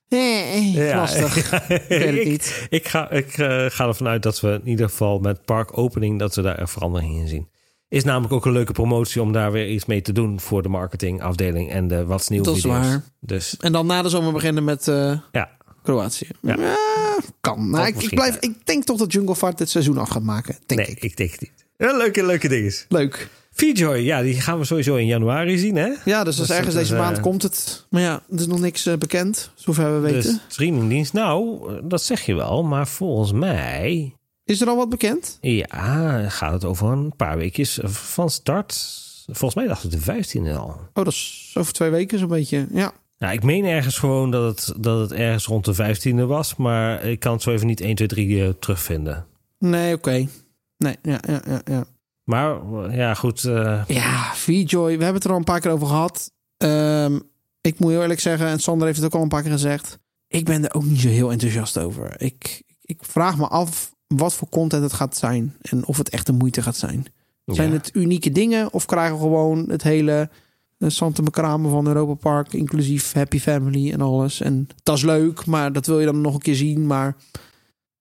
Speaker 1: eh, eh,
Speaker 2: Ja.
Speaker 1: lastig. Ik weet het niet.
Speaker 2: Ik ga, ik eh, ga ervan uit dat we in ieder geval met parkopening... dat we daar een verandering in zien. Is namelijk ook een leuke promotie om daar weer iets mee te doen... voor de marketingafdeling en de Wat is Nieuw
Speaker 1: Dat is
Speaker 2: video's.
Speaker 1: waar.
Speaker 2: Dus
Speaker 1: En dan na de zomer beginnen met eh,
Speaker 2: ja,
Speaker 1: Kroatië.
Speaker 2: Ja.
Speaker 1: Ja, kan. Nou,
Speaker 2: Ook
Speaker 1: ik, ik,
Speaker 2: misschien,
Speaker 1: blijf,
Speaker 2: ja.
Speaker 1: ik denk toch dat Jungle Fart dit seizoen af gaat maken. Denk
Speaker 2: nee,
Speaker 1: ik.
Speaker 2: ik denk het niet. Ja, leuke, leuke dingen.
Speaker 1: Leuk.
Speaker 2: Vjoy, ja, die gaan we sowieso in januari zien, hè?
Speaker 1: Ja, dus als
Speaker 2: Dus
Speaker 1: ergens
Speaker 2: dat
Speaker 1: deze
Speaker 2: is, eh,
Speaker 1: maand komt het. Maar ja, er is nog niks eh, bekend, zover we weten.
Speaker 2: De Dus streamingdienst. Nou, eh, dat zeg je wel, maar volgens mij...
Speaker 1: Is er al wat bekend?
Speaker 2: Ja, gaat het over een paar weekjes van start. Volgens mij dacht ik de 15e al.
Speaker 1: Oh, dat is over twee weken zo'n beetje. Ja.
Speaker 2: Nou, ik meen ergens gewoon dat het, dat het ergens rond de 15e was, maar ik kan het zo even niet 1, 2, 3 eh, terugvinden.
Speaker 1: Nee, oké. Nee, ja, ja, ja, ja.
Speaker 2: Maar eh, ja, goed. eh,
Speaker 1: Ja, V-Joy, we hebben het er al een paar keer over gehad. Ehm, ik moet heel eerlijk zeggen, en Sander heeft het ook al een paar keer gezegd. Ik ben er ook niet zo heel enthousiast over. Ik, ik vraag me af wat voor content het gaat zijn. En of het echt de moeite gaat zijn. Zijn
Speaker 2: ja.
Speaker 1: het unieke dingen of krijgen we gewoon het hele eh, Santa Macrame van Europa Park, inclusief Happy Family en alles? En dat is leuk, maar dat wil je dan nog een keer zien. Maar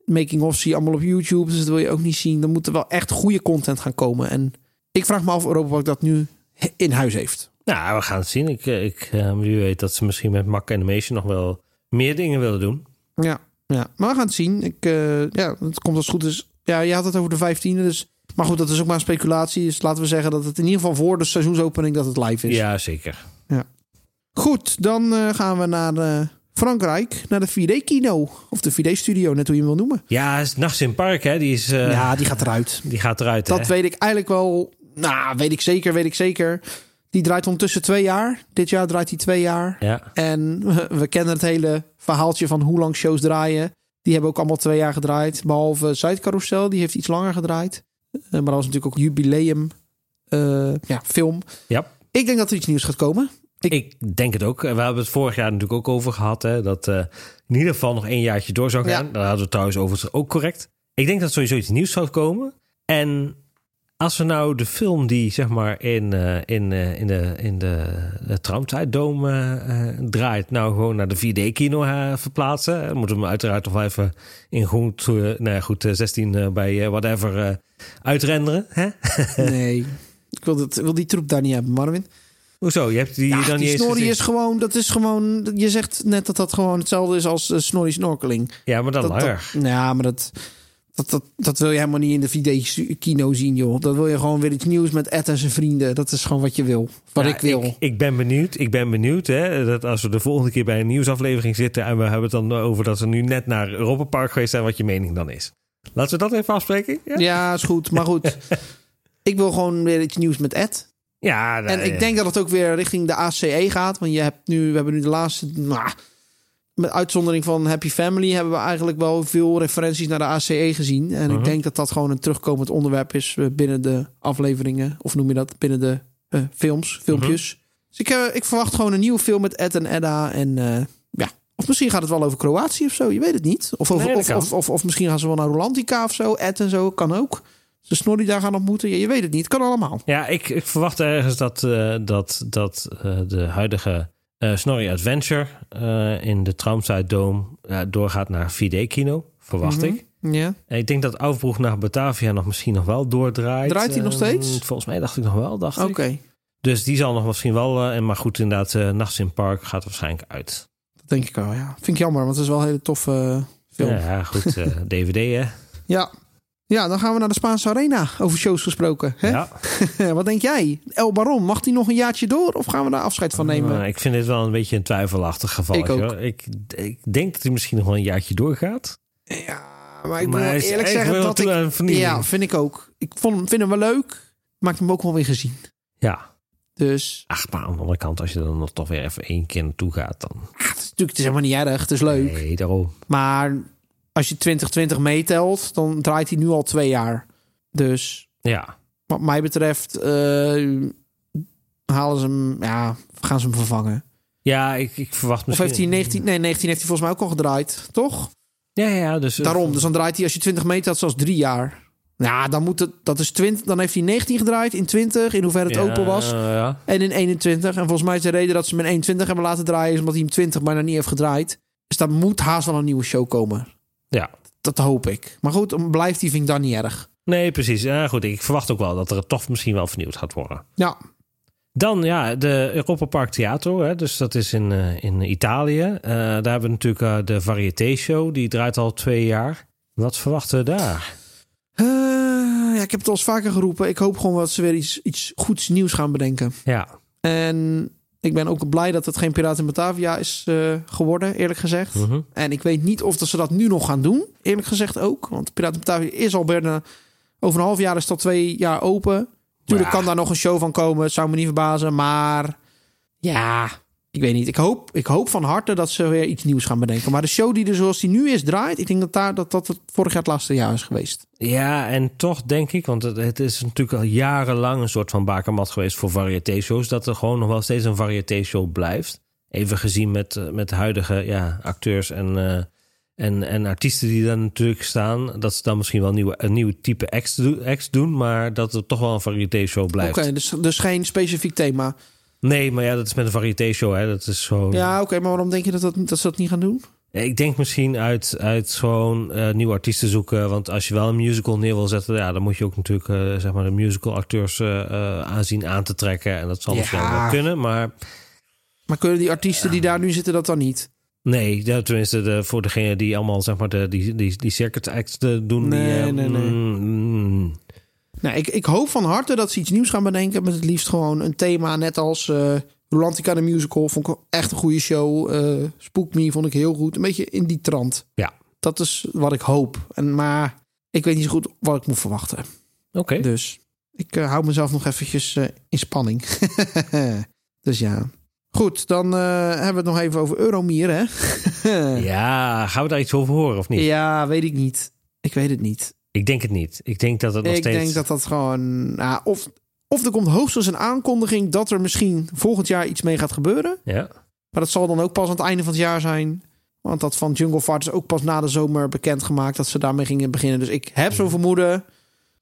Speaker 1: making of zie je allemaal op YouTube, dus dat wil je ook niet zien. Dan moet er wel echt goede content gaan komen. En ik vraag me af of Europa Park dat nu he- in huis heeft.
Speaker 2: Nou, we gaan het zien. Ik, eh, ik, eh, wie weet dat ze misschien met Mac Animation nog wel meer dingen willen doen.
Speaker 1: Ja, ja. maar we gaan het zien. Ik, eh, ja, het komt als het goed is. Ja, je had het over de 15e, dus. Maar goed, dat is ook maar speculatie. Dus laten we zeggen dat het in ieder geval voor de seizoensopening dat het live is.
Speaker 2: Ja, zeker.
Speaker 1: Goed, dan eh, gaan we naar eh, Frankrijk, naar de 4D-kino. Of de 4D-studio, net hoe je hem wil noemen.
Speaker 2: Ja, het is Nachts in het Park, hè? Die, is, eh,
Speaker 1: ja, die gaat eruit.
Speaker 2: die gaat eruit.
Speaker 1: Dat
Speaker 2: hè?
Speaker 1: weet ik eigenlijk wel. Nou, weet ik zeker, weet ik zeker. Die draait ondertussen twee jaar. Dit jaar draait hij twee jaar.
Speaker 2: Ja.
Speaker 1: En we- we kennen het hele verhaaltje van hoe lang shows draaien. Die hebben ook allemaal twee jaar gedraaid. Behalve Zuidcarousel, die heeft iets langer gedraaid. Eh, Maar dat was natuurlijk ook jubileum eh, ja, film.
Speaker 2: ja.
Speaker 1: Ik denk dat er iets nieuws gaat komen.
Speaker 2: Ik, denk het ook. We hebben het vorig jaar natuurlijk ook over gehad. Hè, dat eh, in ieder geval nog één jaartje door zou gaan.
Speaker 1: Ja.
Speaker 2: Daar hadden we het trouwens overigens ook correct. Ik denk dat sowieso iets nieuws zou komen. En als we nou de film die zeg maar in, eh, in, eh, in de, in de, de Tramtijddoom eh, eh, draait... nou gewoon naar de 4D-kino verplaatsen. Dan moeten we hem uiteraard nog wel even in goed, eh, nou ja, goed eh, 16 eh, bij eh, whatever eh, uitrenderen. Hè?
Speaker 1: Nee, ik wil, dat, ik wil die troep daar niet hebben, Marvin.
Speaker 2: Hoezo? Je hebt die
Speaker 1: Ja,
Speaker 2: dan
Speaker 1: die
Speaker 2: niet eens
Speaker 1: snorrie
Speaker 2: gezien?
Speaker 1: is gewoon, dat is gewoon, je zegt net dat dat gewoon hetzelfde is als eh, snorrie snorkeling.
Speaker 2: Ja, maar dan
Speaker 1: Dat,
Speaker 2: langer.
Speaker 1: dat, ja, maar dat, dat, dat, dat wil je helemaal niet in de 4D-kino zien, joh. Dat wil je gewoon weer iets nieuws met Ed en zijn vrienden. Dat is gewoon wat je wil, wat
Speaker 2: Ja,
Speaker 1: ik wil.
Speaker 2: Ik, ben benieuwd. Ik ben benieuwd hè, dat als we de volgende keer bij een nieuwsaflevering zitten en we hebben het dan over dat we nu net naar Europa Park geweest zijn, wat je mening dan is. Laten we dat even afspreken. Ja,
Speaker 1: Ja, is goed, maar goed. ik wil gewoon weer iets nieuws met Ed.
Speaker 2: Ja, nou,
Speaker 1: En ik
Speaker 2: eh,
Speaker 1: denk dat het ook weer richting de ACE gaat. Want je hebt nu, we hebben nu de laatste. nou, met uitzondering van Happy Family hebben we eigenlijk wel veel referenties naar de ACE gezien. En ik
Speaker 2: Mhm.
Speaker 1: denk dat dat gewoon een terugkomend onderwerp is eh, binnen de afleveringen. Of noem je dat? Binnen de eh, films, filmpjes.
Speaker 2: Mhm.
Speaker 1: Dus ik, eh, ik verwacht gewoon een nieuwe film met Ed en Edda. En eh, ja, of misschien gaat het wel over Kroatië of zo. Je weet het niet. Of, over,
Speaker 2: Nee, dat
Speaker 1: of,
Speaker 2: kan.
Speaker 1: of, of, of misschien gaan ze wel naar Rolantica of zo. Ed en zo kan ook. Ze snorrie daar gaan ontmoeten. Ja, je weet het niet. Kan allemaal.
Speaker 2: Ja, ik, ik verwacht ergens dat, eh, dat, dat eh, de huidige eh Snorri Adventure eh, in de Traumside Dome eh, doorgaat naar 4D-kino. Verwacht
Speaker 1: Mhm.
Speaker 2: ik.
Speaker 1: Ja.
Speaker 2: En ik denk dat Aufbroeg naar Batavia nog misschien nog wel doordraait.
Speaker 1: Draait die nog
Speaker 2: Eh,
Speaker 1: steeds?
Speaker 2: Volgens mij dacht ik nog wel, dacht
Speaker 1: Oké.
Speaker 2: ik. Dus die zal nog misschien wel. eh, en maar goed, inderdaad, eh, Nachts in het Park gaat waarschijnlijk uit.
Speaker 1: Dat denk ik wel, ja. Vind ik jammer, want het is wel een hele toffe eh, film.
Speaker 2: Ja,
Speaker 1: Ja.
Speaker 2: ja, goed. eh, DVD, hè?
Speaker 1: ja. dan gaan we naar de Spaanse Arena. Over shows gesproken. Hè?
Speaker 2: Ja.
Speaker 1: Wat denk jij? El Baron, mag die nog een jaartje door? Of gaan we daar afscheid van nemen?
Speaker 2: Maar Eh, ik vind dit wel een beetje een twijfelachtig geval.
Speaker 1: Ik ook.
Speaker 2: Ik, ik denk dat hij misschien nog wel een jaartje doorgaat.
Speaker 1: Ja, maar ik moet
Speaker 2: Maar
Speaker 1: wel
Speaker 2: hij is
Speaker 1: eerlijk
Speaker 2: echt
Speaker 1: zeggen
Speaker 2: wel
Speaker 1: dat
Speaker 2: toe
Speaker 1: ik...
Speaker 2: aan vernieuwing.
Speaker 1: Ja, vind ik ook. Ik vond, hem- vind hem wel leuk, maar ik heb hem ook wel weer gezien.
Speaker 2: Ja.
Speaker 1: Dus
Speaker 2: Ach, maar aan de andere kant, als je dan nog toch weer even één keer naartoe gaat, dan.
Speaker 1: ah, het, is natuurlijk, het is helemaal niet erg, het is leuk.
Speaker 2: Nee, daarom.
Speaker 1: Maar als je 2020 meetelt, dan draait hij nu al twee jaar. Dus
Speaker 2: Ja.
Speaker 1: wat mij betreft eh, halen ze hem, ja, gaan ze hem vervangen.
Speaker 2: Ja, ik, ik verwacht
Speaker 1: Of
Speaker 2: misschien.
Speaker 1: heeft hij 19, nee, 19 heeft hij volgens mij ook al gedraaid, toch?
Speaker 2: Ja, ja, dus.
Speaker 1: Daarom, dus dan draait hij als je 20 meter had, zelfs drie jaar. Nou, dan moet het, dat is 20, dan heeft hij 19 gedraaid in 20, in hoeverre het
Speaker 2: Ja,
Speaker 1: open was.
Speaker 2: Ja.
Speaker 1: En in 21. En volgens mij is de reden dat ze hem in 21 hebben laten draaien, is omdat hij hem 20 bijna niet heeft gedraaid. Dus daar moet haast wel een nieuwe show komen.
Speaker 2: ja.
Speaker 1: Dat hoop ik. Maar goed, dan blijft die vind ik dan niet erg.
Speaker 2: Nee, precies. Ja, goed. Ik verwacht ook wel dat er toch misschien wel vernieuwd gaat worden.
Speaker 1: Ja,
Speaker 2: Dan ja, de Europa Park Theater, hè, dus dat is in, eh, in Italië. Eh, daar hebben we natuurlijk eh, de Variété Show, die draait al twee jaar. Wat verwachten we daar?
Speaker 1: Eh, ja, ik heb het al eens vaker geroepen. Ik hoop gewoon dat ze weer iets, iets goeds nieuws gaan bedenken.
Speaker 2: Ja.
Speaker 1: En ik ben ook blij dat het geen Piraten in Batavia is eh, geworden, eerlijk gezegd.
Speaker 2: Mhm.
Speaker 1: En ik weet niet of dat ze dat nu nog gaan doen, eerlijk gezegd ook. Want Piraten in Batavia is al bijna... Over een half jaar is het al twee jaar open. Tuurlijk
Speaker 2: Ja.
Speaker 1: kan daar nog een show van komen. Het zou me niet verbazen, maar... Ja, ik weet niet. Ik hoop, ik hoop van harte dat ze weer iets nieuws gaan bedenken. Maar de show die er zoals die nu is draait... ik denk dat daar, dat, dat het vorig jaar het laatste jaar is geweest.
Speaker 2: Ja, en toch denk ik, want het, het is natuurlijk al jarenlang een soort van bakermat geweest voor variété-shows, dat er gewoon nog wel steeds een variété-show blijft. Even gezien met, eh, met huidige ja, acteurs en, eh, en, en artiesten die daar natuurlijk staan, dat ze dan misschien wel nieuwe, een nieuw type acts, do- acts doen, maar dat het toch wel een variété-show
Speaker 1: Oké,
Speaker 2: blijft.
Speaker 1: dus, dus geen specifiek thema.
Speaker 2: Nee, maar ja, dat is met een variété-show, hè? Dat is gewoon.
Speaker 1: Ja, oké, maar waarom denk je dat, dat, dat ze dat niet gaan doen?
Speaker 2: Ik denk misschien uit, uit gewoon eh, nieuwe artiesten zoeken. Want als je wel een musical neer wil zetten, ja, dan moet je ook natuurlijk eh, zeg maar de musical acteurs eh, aanzien aan te trekken. En dat zal
Speaker 1: Ja.
Speaker 2: misschien wel kunnen. Maar
Speaker 1: Maar kunnen die artiesten die daar nu zitten dat dan niet?
Speaker 2: nee, ja, tenminste, de, voor degene die allemaal zeg maar de, die, die, die circuit acts eh, doen. die,
Speaker 1: Nee,
Speaker 2: eh,
Speaker 1: nee, nee.
Speaker 2: mm, mm.
Speaker 1: Nou, ik, ik hoop van harte dat ze iets nieuws gaan bedenken. Met het liefst gewoon een thema. Net als eh Rolantica de Musical. Vond ik echt een goede show. Eh Spook Me vond ik heel goed. Een beetje in die trant.
Speaker 2: Ja.
Speaker 1: Dat is wat ik hoop. En, maar ik weet niet zo goed wat ik moet verwachten.
Speaker 2: Oké.
Speaker 1: Dus ik eh, hou mezelf nog eventjes eh, in spanning. dus ja. Goed, dan eh, hebben we het nog even over Euromier, hè?
Speaker 2: Ja, gaan we daar iets over horen of niet?
Speaker 1: ja, weet ik niet. Ik weet het niet.
Speaker 2: Ik denk het niet. Ik denk dat het nog
Speaker 1: Ik
Speaker 2: steeds.
Speaker 1: denk dat dat gewoon. nou, of, of er komt hoogstens een aankondiging dat er misschien volgend jaar iets mee gaat gebeuren.
Speaker 2: Ja.
Speaker 1: Maar dat zal dan ook pas aan het einde van het jaar zijn. Want dat van Jungle Fight is ook pas na de zomer bekendgemaakt dat ze daarmee gingen beginnen. Dus ik heb zo'n vermoeden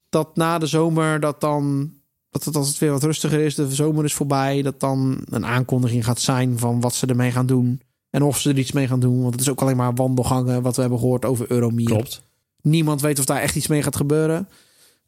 Speaker 1: dat na de zomer dat dan. Dat het als het weer wat rustiger is, de zomer is voorbij, dat dan een aankondiging gaat zijn van wat ze ermee gaan doen. En of ze er iets mee gaan doen. Want het is ook alleen maar wandelgangen wat we hebben gehoord over Euromier.
Speaker 2: Klopt.
Speaker 1: Niemand weet of daar echt iets mee gaat gebeuren.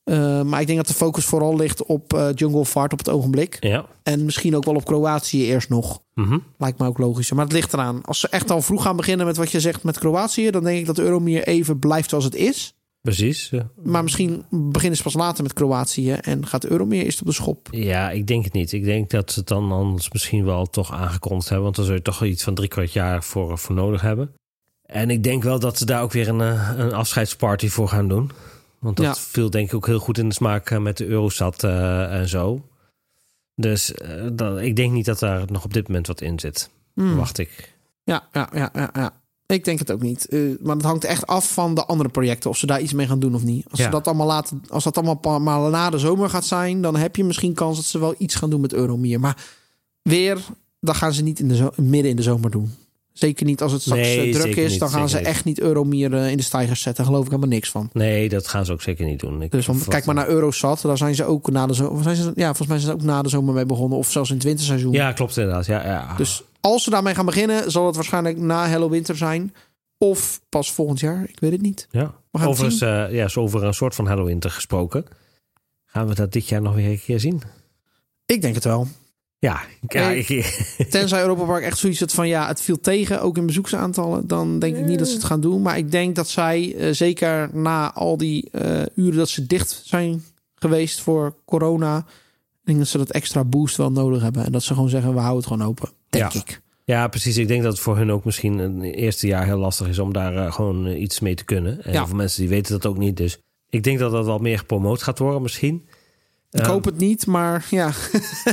Speaker 1: Eh, maar ik denk dat de focus vooral ligt op eh, Jungle Fart op het ogenblik.
Speaker 2: Ja.
Speaker 1: En misschien ook wel op Kroatië eerst nog.
Speaker 2: Mhm.
Speaker 1: Lijkt me ook logischer. Maar het ligt eraan. Als ze echt al vroeg gaan beginnen met wat je zegt met Kroatië... dan denk ik dat Euromir even blijft zoals het is.
Speaker 2: Precies. ja.
Speaker 1: Maar misschien beginnen ze pas later met Kroatië... en gaat Euromir eerst op de schop.
Speaker 2: Ja, ik denk het niet. Ik denk dat ze het dan anders misschien wel toch aangekondigd hebben. Want dan zul je toch wel iets van drie kwart jaar voor, voor nodig hebben. En ik denk wel dat ze daar ook weer een, eh, een afscheidsparty voor gaan doen. Want dat
Speaker 1: Ja.
Speaker 2: viel denk ik ook heel goed in de smaak eh, met de Eurostat eh, en zo. Dus eh, dan, ik denk niet dat daar nog op dit moment wat in zit.
Speaker 1: Hmm.
Speaker 2: Wacht ik.
Speaker 1: Ja, ja, ja, ja, ja. Ik denk het ook niet. Eh, maar dat hangt echt af van de andere projecten. Of ze daar iets mee gaan doen of niet. Als,
Speaker 2: Ja.
Speaker 1: ze dat, allemaal laten, als dat allemaal pa- maar na de zomer gaat zijn... dan heb je misschien kans dat ze wel iets gaan doen met Euromir. Maar weer, dat gaan ze niet in de zo- midden in de zomer doen. Zeker niet als het straks
Speaker 2: Nee,
Speaker 1: eh, druk
Speaker 2: zeker
Speaker 1: is.
Speaker 2: niet,
Speaker 1: dan gaan
Speaker 2: zeker
Speaker 1: ze
Speaker 2: niet.
Speaker 1: echt niet Euromir eh, in de stijgers zetten. Daar geloof ik helemaal niks van.
Speaker 2: Nee, dat gaan ze ook zeker niet doen. Ik
Speaker 1: Dus want
Speaker 2: verwacht-
Speaker 1: kijk maar naar Eurosat. Daar zijn ze ook na de zomer... Zijn ze, ja, volgens mij zijn ze ook na de zomer mee begonnen. Of zelfs in het winterseizoen.
Speaker 2: Ja, klopt inderdaad. Ja, ja.
Speaker 1: Dus als ze daarmee gaan beginnen, zal het waarschijnlijk na Hello Winter zijn. Of pas volgend jaar. Ik weet het niet.
Speaker 2: Ja.
Speaker 1: We gaan het
Speaker 2: Overigens, eh, ja, zo over een soort van Halloween gesproken. Gaan we dat dit jaar nog weer een keer zien?
Speaker 1: Ik denk het wel.
Speaker 2: Ja, ja
Speaker 1: Nee.
Speaker 2: ik,
Speaker 1: Tenzij Europa Park echt zoiets had van ja, het viel tegen, ook in bezoeksaantallen. Dan denk ik niet dat ze het gaan doen. Maar ik denk dat zij, eh, zeker na al die eh, uren dat ze dicht zijn geweest voor corona. Ik denk dat ze dat extra boost wel nodig hebben. En dat ze gewoon zeggen, we houden het gewoon open. Denk
Speaker 2: Ja.
Speaker 1: ik.
Speaker 2: ja, precies. Ik denk dat het voor hun ook misschien een eerste jaar heel lastig is om daar eh, gewoon eh, iets mee te kunnen. En
Speaker 1: Ja.
Speaker 2: heel veel mensen die weten dat ook niet. Dus ik denk dat dat wel meer gepromoot gaat worden misschien.
Speaker 1: Ik hoop
Speaker 2: Eh,
Speaker 1: het niet, maar ja.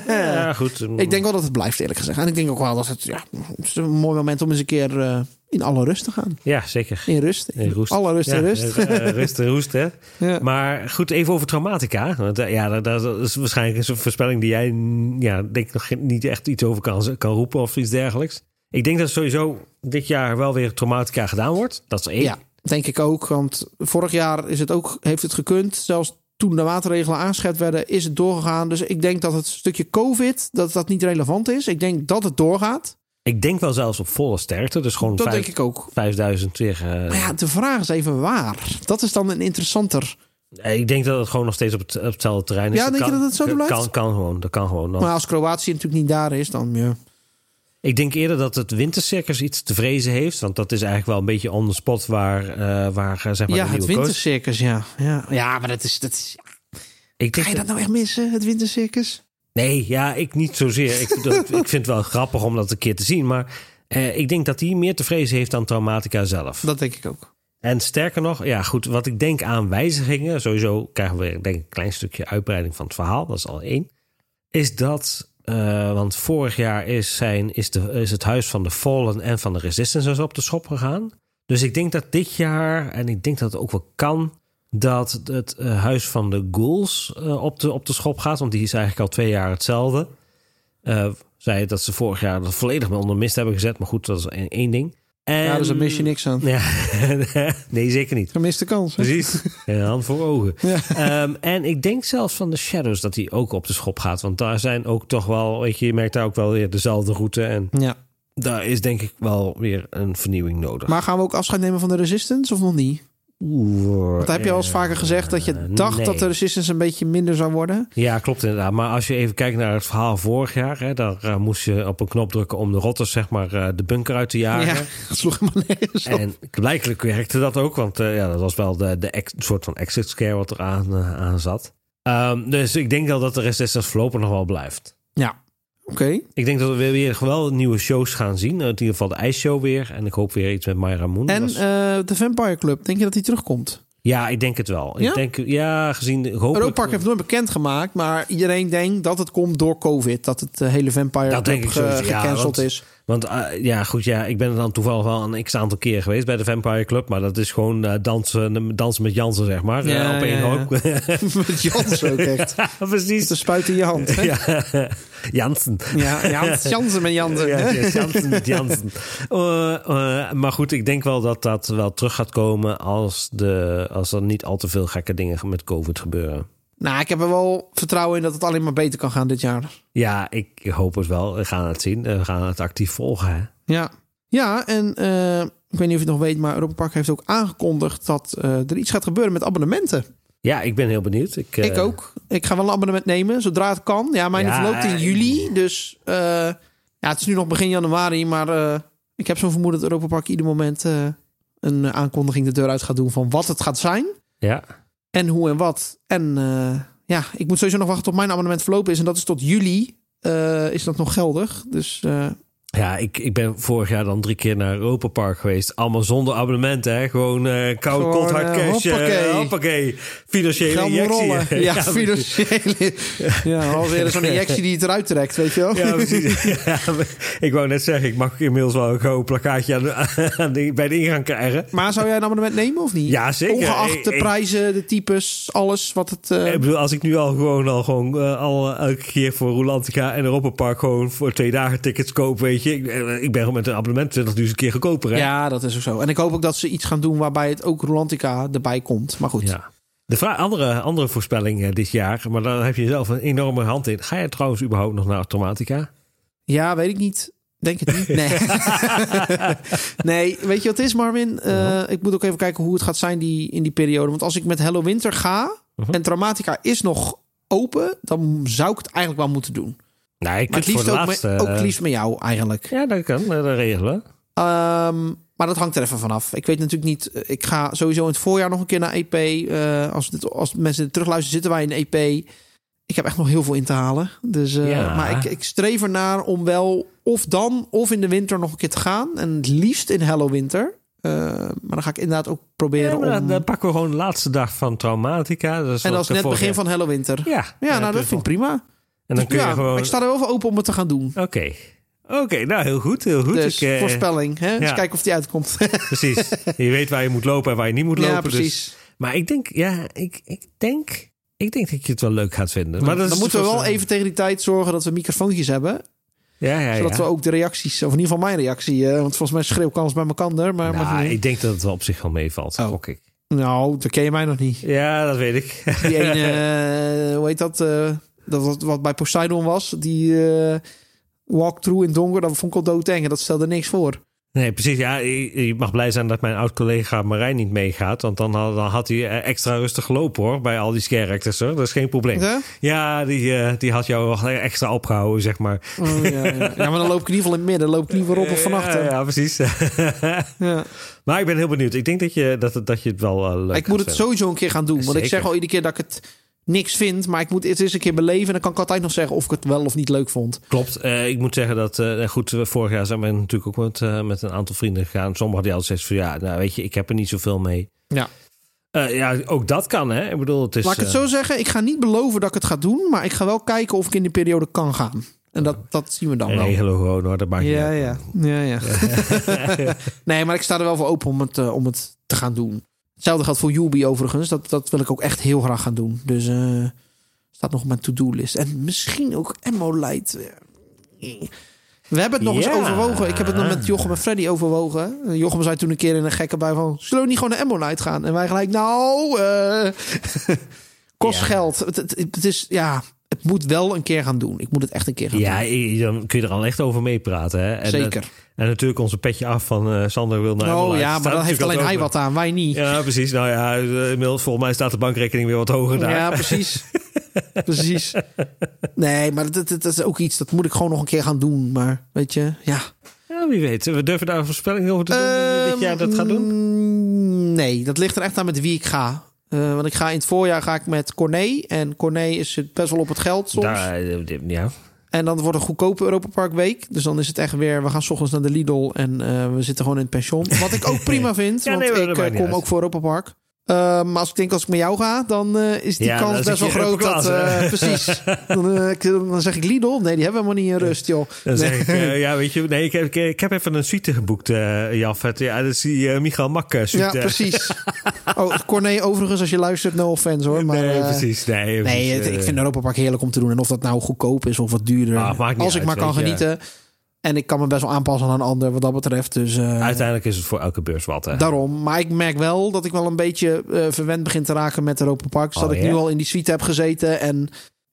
Speaker 2: Ja, goed.
Speaker 1: Ik denk wel dat het blijft, eerlijk gezegd. En ik denk ook wel dat het, ja, het is een mooi moment om eens een keer eh, in alle rust te gaan.
Speaker 2: Ja, zeker.
Speaker 1: In rust. In
Speaker 2: In roest.
Speaker 1: Alle rust
Speaker 2: Ja,
Speaker 1: in rust.
Speaker 2: eh, eh, rust en roest, hè.
Speaker 1: Ja.
Speaker 2: Maar goed, even over traumatica. Want, eh, ja, dat, dat is waarschijnlijk een voorspelling die jij mm, ja, denk ik nog geen- niet echt iets over kan, kan roepen of iets dergelijks. Ik denk dat sowieso dit jaar wel weer traumatica gedaan wordt. Dat is één.
Speaker 1: ja, denk ik ook. Want vorig jaar is het ook, heeft het gekund. Zelfs toen de maatregelen aanscherpt werden, is het doorgegaan. Dus ik denk dat het stukje COVID, dat dat niet relevant is. Ik denk dat het doorgaat.
Speaker 2: Ik denk wel zelfs op volle sterkte. Dus gewoon
Speaker 1: Dat
Speaker 2: vijf-
Speaker 1: denk ik ook.
Speaker 2: 5000 tegen.
Speaker 1: Maar ja, de vraag is even waar. Dat is dan een interessanter.
Speaker 2: eh, ik denk dat het gewoon nog steeds op, het, op hetzelfde terrein is.
Speaker 1: Ja, denk je dat het zo
Speaker 2: kan,
Speaker 1: blijft?
Speaker 2: Kan, kan gewoon, dat kan gewoon.
Speaker 1: Maar als Kroatië natuurlijk niet daar is, dan ja.
Speaker 2: Ik denk eerder dat het wintercircus iets te vrezen heeft. Want dat is eigenlijk wel een beetje on the spot waar, eh, waar eh, zeg maar
Speaker 1: ja,
Speaker 2: de
Speaker 1: het
Speaker 2: nieuwe coach-
Speaker 1: wintercircus, ja. ja. Ja, maar dat is... Dat is ja.
Speaker 2: Ik denk
Speaker 1: Ga je
Speaker 2: dat-
Speaker 1: dat nou echt missen, het wintercircus?
Speaker 2: Nee, ja, ik niet zozeer. Ik, dat, ik vind het wel grappig om dat een keer te zien. Maar eh, ik denk dat hij meer te vrezen heeft dan Traumatica zelf.
Speaker 1: Dat denk ik ook.
Speaker 2: En sterker nog, ja goed, wat ik denk aan wijzigingen... sowieso krijgen we denk ik een klein stukje uitbreiding van het verhaal. Dat is al één. Is dat, eh, want vorig jaar is, zijn, is, de, is het huis van de Fallen en van de Resistance op de schop gegaan. Dus ik denk dat dit jaar, en ik denk dat het ook wel kan... dat het eh, huis van de Ghouls eh, op, de, op de schop gaat. Want die is eigenlijk al twee jaar hetzelfde. Eh zij dat ze vorig jaar dat volledig onder mist hebben gezet. Maar goed, dat is één, één ding. En,
Speaker 1: Ja, dus
Speaker 2: Ehm,
Speaker 1: daar mis je niks aan.
Speaker 2: ja, nee, zeker niet.
Speaker 1: Gemiste kans. hè?
Speaker 2: Precies. En een hand voor ogen.
Speaker 1: Ja.
Speaker 2: Ehm, en ik denk zelfs van de Shadows dat die ook op de schop gaat. Want daar zijn ook toch wel, weet je, je merkt daar ook wel weer dezelfde route. En
Speaker 1: Ja.
Speaker 2: daar is denk ik wel weer een vernieuwing nodig.
Speaker 1: Maar gaan we ook afscheid nemen van de Resistance of nog niet?
Speaker 2: Oeh,
Speaker 1: Dat heb je al eens vaker gezegd dat je
Speaker 2: Eh,
Speaker 1: dacht dat de Resistance een beetje minder zou worden.
Speaker 2: Ja, klopt inderdaad. Maar als je even kijkt naar het verhaal vorig jaar, hè, daar eh, moest je op een knop drukken om de rotters, zeg maar, eh, de bunker uit te jagen.
Speaker 1: Ja, dat sloeg helemaal nergens op.
Speaker 2: En blijkelijk werkte dat ook, want eh, ja, dat was wel de, de ex- soort van exit scare wat er aan, eh, aan zat. Ehm, dus ik denk wel dat de Resistance voorlopig nog wel blijft.
Speaker 1: Ja. Oké.
Speaker 2: Ik denk dat we weer, weer wel nieuwe shows gaan zien. eh, In ieder geval de ijsshow weer. En ik hoop weer iets met Myra Moon.
Speaker 1: En
Speaker 2: Dat is-
Speaker 1: eh, de Vampire Club, denk je dat die terugkomt?
Speaker 2: ja, ik denk het wel.
Speaker 1: Ja?
Speaker 2: Ik denk, ja, gezien... Hopelijk,
Speaker 1: Europa Park heeft nooit bekendgemaakt, maar iedereen denkt dat het komt door COVID. Dat het eh, hele Vampire
Speaker 2: Dat
Speaker 1: Club
Speaker 2: denk ik
Speaker 1: ge-
Speaker 2: sowieso, ja,
Speaker 1: gecanceld
Speaker 2: want-
Speaker 1: is.
Speaker 2: Want eh, ja, goed, ja, ik ben er dan toevallig wel een x-aantal keer geweest bij de Vampire Club. Maar dat is gewoon eh, dansen, dansen met Jansen, zeg maar.
Speaker 1: Ja,
Speaker 2: Eh, op
Speaker 1: ja,
Speaker 2: één
Speaker 1: ja.
Speaker 2: hoop.
Speaker 1: Met Jans ook echt.
Speaker 2: Precies.
Speaker 1: Met de spuit in je hand. Hè? Ja,
Speaker 2: Jansen.
Speaker 1: Jans, Jansen met Jansen.
Speaker 2: Ja,
Speaker 1: hè?
Speaker 2: ja, Jansen met Jansen. Eh, eh, maar goed, ik denk wel dat dat wel terug gaat komen als, de, als er niet al te veel gekke dingen met COVID gebeuren.
Speaker 1: Nou, ik heb er wel vertrouwen in dat het alleen maar beter kan gaan dit jaar.
Speaker 2: Ja, ik hoop het wel. We gaan het zien. Eh, We gaan het actief volgen. Hè?
Speaker 1: Ja. Ja, en eh, ik weet niet of je het nog weet, maar Europa Park heeft ook aangekondigd dat eh, er iets gaat gebeuren met abonnementen.
Speaker 2: Ja, ik ben heel benieuwd. Ik, eh,
Speaker 1: Ik ook. Ik ga wel een abonnement nemen, zodra het kan. Ja, mijn
Speaker 2: Ja,
Speaker 1: verloopt in
Speaker 2: ik-
Speaker 1: juli. Dus eh, ja, het is nu nog begin januari. Maar eh, ik heb zo'n vermoeden dat Europa Park ieder moment eh, een aankondiging de deur uit gaat doen van wat het gaat zijn.
Speaker 2: Ja,
Speaker 1: En hoe en wat. En eh, ja, ik moet sowieso nog wachten tot mijn abonnement verlopen is. En dat is tot juli. eh, is dat nog geldig? Dus eh,
Speaker 2: ja ik, ik ben vorig jaar dan drie keer naar Europa Park geweest. Allemaal zonder abonnement. Hè? Gewoon eh koud,
Speaker 1: Gewoon,
Speaker 2: koud, hard
Speaker 1: eh,
Speaker 2: cash. eh,
Speaker 1: hoppakee.
Speaker 2: hoppakee. Financiële
Speaker 1: geld moet
Speaker 2: injectie.
Speaker 1: rollen. Ja,
Speaker 2: precies.
Speaker 1: financiële. Ja, alweer zo'n injectie die het eruit trekt, weet je wel?
Speaker 2: Ja, precies. Ja, maar ik wou net zeggen, ik mag inmiddels wel een gewoon plakkaatje aan de- aan de- bij de ingang krijgen.
Speaker 1: Maar zou jij een abonnement nemen of niet?
Speaker 2: Ja, zeker.
Speaker 1: Ongeacht de
Speaker 2: Ik- ik-
Speaker 1: prijzen, de types, alles wat het... eh,
Speaker 2: Ik bedoel, als ik nu al gewoon, al gewoon eh, al elke keer voor Rolantica en Europa Park gewoon voor twee dagen tickets koop, weet je. Ik, eh, ik ben gewoon met een abonnement 20.000 keer goedkoper. Hè?
Speaker 1: ja, dat is ook zo. En ik hoop ook dat ze iets gaan doen waarbij het ook Rolantica erbij komt. Maar goed.
Speaker 2: Ja. De vraag, andere, andere voorspelling eh, dit jaar, maar daar heb je zelf een enorme hand in. Ga je trouwens überhaupt nog naar Automatica?
Speaker 1: Ja, weet ik niet. Denk het niet. Nee. nee, weet je wat het is, Marvin? Eh,
Speaker 2: Uh-huh.
Speaker 1: ik moet ook even kijken hoe het gaat zijn die, in die periode. Want als ik met Hello Winter ga
Speaker 2: Uh-huh.
Speaker 1: en Traumatica is nog open, dan zou ik het eigenlijk wel moeten doen.
Speaker 2: Nee, ik
Speaker 1: Maar het
Speaker 2: het voor
Speaker 1: liefst
Speaker 2: de
Speaker 1: ook,
Speaker 2: laatste.
Speaker 1: met, ook
Speaker 2: eh,
Speaker 1: het liefst met jou eigenlijk.
Speaker 2: Ja, dat kan, eh, dat regelen.
Speaker 1: Ehm, maar dat hangt er even vanaf. Ik weet natuurlijk niet. eh, Ik ga sowieso in het voorjaar nog een keer naar EP. Eh, als, dit, als mensen dit terugluisteren, zitten wij in EP. Ik heb echt nog heel veel in te halen. Dus, eh,
Speaker 2: Ja.
Speaker 1: Maar ik, ik streef ernaar om wel of dan of in de winter nog een keer te gaan. En het liefst in Hello Winter. Eh, maar dan ga ik inderdaad ook proberen
Speaker 2: Ja, maar dan,
Speaker 1: om...
Speaker 2: dan pakken we gewoon de laatste dag van Traumatica. Dat is
Speaker 1: en
Speaker 2: wat
Speaker 1: dat is
Speaker 2: ik
Speaker 1: net
Speaker 2: ervoor-
Speaker 1: begin van Hello Winter. Ja,
Speaker 2: Ja, dan
Speaker 1: nou
Speaker 2: heb je
Speaker 1: dat vind ik prima.
Speaker 2: En dan kun je
Speaker 1: ja,
Speaker 2: gewoon.
Speaker 1: Ik sta er wel voor open om het te gaan doen.
Speaker 2: Oké. Oké, nou heel goed, heel goed.
Speaker 1: dus
Speaker 2: Ik, eh,
Speaker 1: voorspelling. Hè? Eens
Speaker 2: ja.
Speaker 1: kijken of die uitkomt.
Speaker 2: Precies. Je weet waar je moet lopen en waar je niet moet lopen.
Speaker 1: ja,
Speaker 2: dus-
Speaker 1: precies.
Speaker 2: Maar ik denk, ja, ik, ik denk. Ik denk dat je het wel leuk gaat vinden. Maar dat is
Speaker 1: dan
Speaker 2: de
Speaker 1: moeten we wel
Speaker 2: voorstelling.
Speaker 1: even tegen die tijd zorgen dat we microfoontjes hebben.
Speaker 2: Ja, ja, ja.
Speaker 1: Zodat we ook de reacties, of in ieder geval mijn reactie. eh, want volgens mij schreeuwkans bij mijn kander. Maar maar-
Speaker 2: Nou, ik denk dat het wel op zich wel meevalt.
Speaker 1: Oh.
Speaker 2: gok ik.
Speaker 1: nou, dat ken je mij nog niet.
Speaker 2: Ja, dat weet ik.
Speaker 1: Die ene, eh, hoe heet dat? eh, dat wat, wat bij Poseidon was. Die eh walkthrough in donker. Dat vond ik al doodeng. en Dat stelde niks voor.
Speaker 2: Nee, precies. Ja, je je mag blij zijn dat mijn oud-collega Marijn niet meegaat. Want dan had, dan had hij eh, extra rustig gelopen hoor. Bij al die scare actors hoor. Dat is geen probleem.
Speaker 1: Ja?
Speaker 2: Ja, die, eh, die had jou wel extra opgehouden, zeg maar. Eh,
Speaker 1: Oh, ja, ja. ja, maar dan loop ik in ieder geval in het midden. Dan loop ik in ieder geval op of van achter.
Speaker 2: Ja, ja, precies.
Speaker 1: Ja. maar
Speaker 2: maar ik ben heel benieuwd. Ik denk dat je, dat, het- dat je het wel eh,
Speaker 1: Ik
Speaker 2: leuk
Speaker 1: moet
Speaker 2: gaat
Speaker 1: het
Speaker 2: vinden.
Speaker 1: sowieso een keer gaan doen. Want ik
Speaker 2: Zeker.
Speaker 1: zeg al iedere keer dat ik het niks vind. Maar ik moet het eens een keer beleven. En dan kan ik altijd nog zeggen of ik het wel of niet leuk vond.
Speaker 2: Klopt. Eh, ik moet zeggen dat, eh, goed, eh, vorig jaar zijn we natuurlijk ook met, eh, met een aantal vrienden gegaan. Sommigen hadden altijd zoiets van, ja, nou weet je, ik heb er niet zoveel mee.
Speaker 1: Ja.
Speaker 2: Eh, ja, ook dat kan, hè? Ik bedoel, het is...
Speaker 1: Laat ik het
Speaker 2: eh,
Speaker 1: zo zeggen. Ik ga niet beloven dat ik het ga doen. Maar ik ga wel kijken of ik in die periode kan gaan. En dat, dat zien we dan wel.
Speaker 2: regelen gewoon, hoor. Dat maakt niet
Speaker 1: Ja,
Speaker 2: uit.
Speaker 1: ja. ja,
Speaker 2: eh,
Speaker 1: ja. nee, maar ik sta er wel voor open om het, eh, om het te gaan doen. Hetzelfde geldt voor Yubi overigens. Dat, dat wil ik ook echt heel graag gaan doen. Dus eh, staat nog op mijn to-do-list. En misschien ook Emolite. We hebben het nog
Speaker 2: Ja.
Speaker 1: eens overwogen. Ik heb het nog met Jochem en Freddy overwogen. Eh, Jochem zei toen een keer in een gekke bui van... Zullen we niet gewoon naar Emolite gaan? En wij gelijk, nou... eh, kost
Speaker 2: Ja.
Speaker 1: geld. Het, het, het is, ja... Het moet wel een keer gaan doen. Ik moet het echt een keer gaan
Speaker 2: Ja,
Speaker 1: doen.
Speaker 2: i- dan kun je er al echt over meepraten, hè? En,
Speaker 1: Zeker.
Speaker 2: dat- en natuurlijk onze petje af van eh, Sander wil naar
Speaker 1: Oh
Speaker 2: Emmeline.
Speaker 1: ja,
Speaker 2: Staat
Speaker 1: maar dan heeft
Speaker 2: natuurlijk
Speaker 1: alleen hij wat
Speaker 2: altijd
Speaker 1: aan, wij niet.
Speaker 2: over- Ja, precies. Nou ja, eh, inmiddels volgens mij staat de bankrekening weer wat hoger daar.
Speaker 1: Ja, precies. precies. Nee, maar dat, dat, dat is ook iets, dat moet ik gewoon nog een keer gaan doen. Maar weet je, ja.
Speaker 2: Ja, wie weet. We durven daar een voorspelling over te doen. wie dit jaar dat gaat doen.
Speaker 1: Ehm, Nee, dat ligt er echt aan met wie ik ga. Eh, want ik ga in het voorjaar ga ik met Corné. En Corné is het best wel op het geld soms.
Speaker 2: Daar, eh, dit- ja.
Speaker 1: En dan wordt een goedkope Europa Park week. Dus dan is het echt weer, we gaan 's ochtends naar de Lidl en eh, we zitten gewoon in het pension. Wat ik ook prima vind,
Speaker 2: Ja,
Speaker 1: want
Speaker 2: nee, maar dat
Speaker 1: ik eh,
Speaker 2: maakt niet
Speaker 1: kom
Speaker 2: uit.
Speaker 1: ook voor Europa Park. Eh, maar als ik denk als ik met jou ga, dan eh, is die
Speaker 2: Ja, dan
Speaker 1: kans
Speaker 2: zit
Speaker 1: best wel
Speaker 2: je in
Speaker 1: groot
Speaker 2: Europa
Speaker 1: dat...
Speaker 2: klasse.
Speaker 1: eh, precies. Dan, eh, ik- dan zeg ik Lidl. Nee, die hebben we helemaal niet in rust, joh.
Speaker 2: Dan zeg
Speaker 1: Nee.
Speaker 2: ik, eh, ja, weet je, nee, ik heb, ik, ik heb even een suite geboekt, eh Jaf. Het, ja, dat is die eh, Michael Mak eh, suite.
Speaker 1: Ja, precies. Oh, Corné, overigens, als je luistert, no offense hoor. Maar,
Speaker 2: nee,
Speaker 1: eh,
Speaker 2: precies. Nee,
Speaker 1: Nee,
Speaker 2: precies,
Speaker 1: het-
Speaker 2: eh,
Speaker 1: ik vind Europa Park heerlijk om te doen. En of dat nou goedkoop is of wat duurder.
Speaker 2: Ah, maakt niet
Speaker 1: als ik
Speaker 2: uit,
Speaker 1: maar kan
Speaker 2: weet je.
Speaker 1: genieten. En ik kan me best wel aanpassen aan een ander wat dat betreft. Dus eh,
Speaker 2: Uiteindelijk is het voor elke beurs wat, hè?
Speaker 1: daarom. Maar ik merk wel dat ik wel een beetje eh, verwend begin te raken met Europa Park. Dus
Speaker 2: Oh,
Speaker 1: dat ik
Speaker 2: ja?
Speaker 1: nu al in die suite heb gezeten. En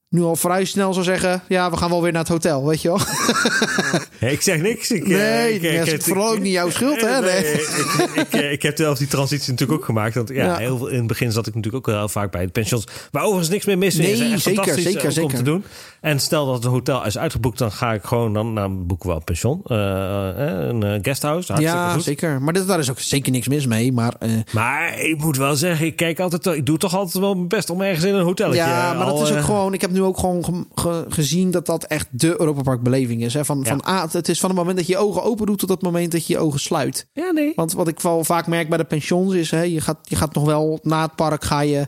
Speaker 1: nu al vrij snel zou zeggen... Ja, we gaan wel weer naar het hotel, weet je wel.
Speaker 2: Hey, ik zeg niks. Ik, eh,
Speaker 1: Nee,
Speaker 2: ik,
Speaker 1: dat
Speaker 2: ik-
Speaker 1: is
Speaker 2: ik-
Speaker 1: vooral ook
Speaker 2: ik-
Speaker 1: niet jouw schuld, hè?
Speaker 2: Nee,
Speaker 1: Nee.
Speaker 2: ik, ik, eh, ik heb zelf die transitie natuurlijk ook gemaakt. Want ja,
Speaker 1: Ja.
Speaker 2: Heel veel, in het begin zat ik natuurlijk ook heel vaak bij de pensions. Waar overigens niks meer mis
Speaker 1: Nee,
Speaker 2: is. Echt
Speaker 1: zeker,
Speaker 2: fantastisch
Speaker 1: zeker,
Speaker 2: eh, ook om
Speaker 1: zeker.
Speaker 2: te doen. En stel dat het hotel is uitgeboekt, dan ga ik gewoon dan naar boeken we wel een pension. Eh, eh, een eh, guesthouse. Hartstikke
Speaker 1: ja,
Speaker 2: goed.
Speaker 1: zeker. Maar dit, daar is ook zeker niks mis mee. Maar eh,
Speaker 2: Maar ik moet wel zeggen, ik kijk altijd, wel- ik doe toch altijd wel mijn best om ergens in een hotelletje.
Speaker 1: Ja,
Speaker 2: eh,
Speaker 1: maar dat
Speaker 2: al,
Speaker 1: is ook
Speaker 2: eh,
Speaker 1: gewoon. Ik heb nu ook gewoon ge- ge- gezien dat dat echt de Europa Park beleving is. Hè? Van, van A, het is van het moment dat je je ogen open doet tot het moment dat je je ogen sluit.
Speaker 2: Ja, nee.
Speaker 1: Want wat ik wel vaak merk bij de pensions is, hè, je, gaat, je gaat nog wel na het park ga je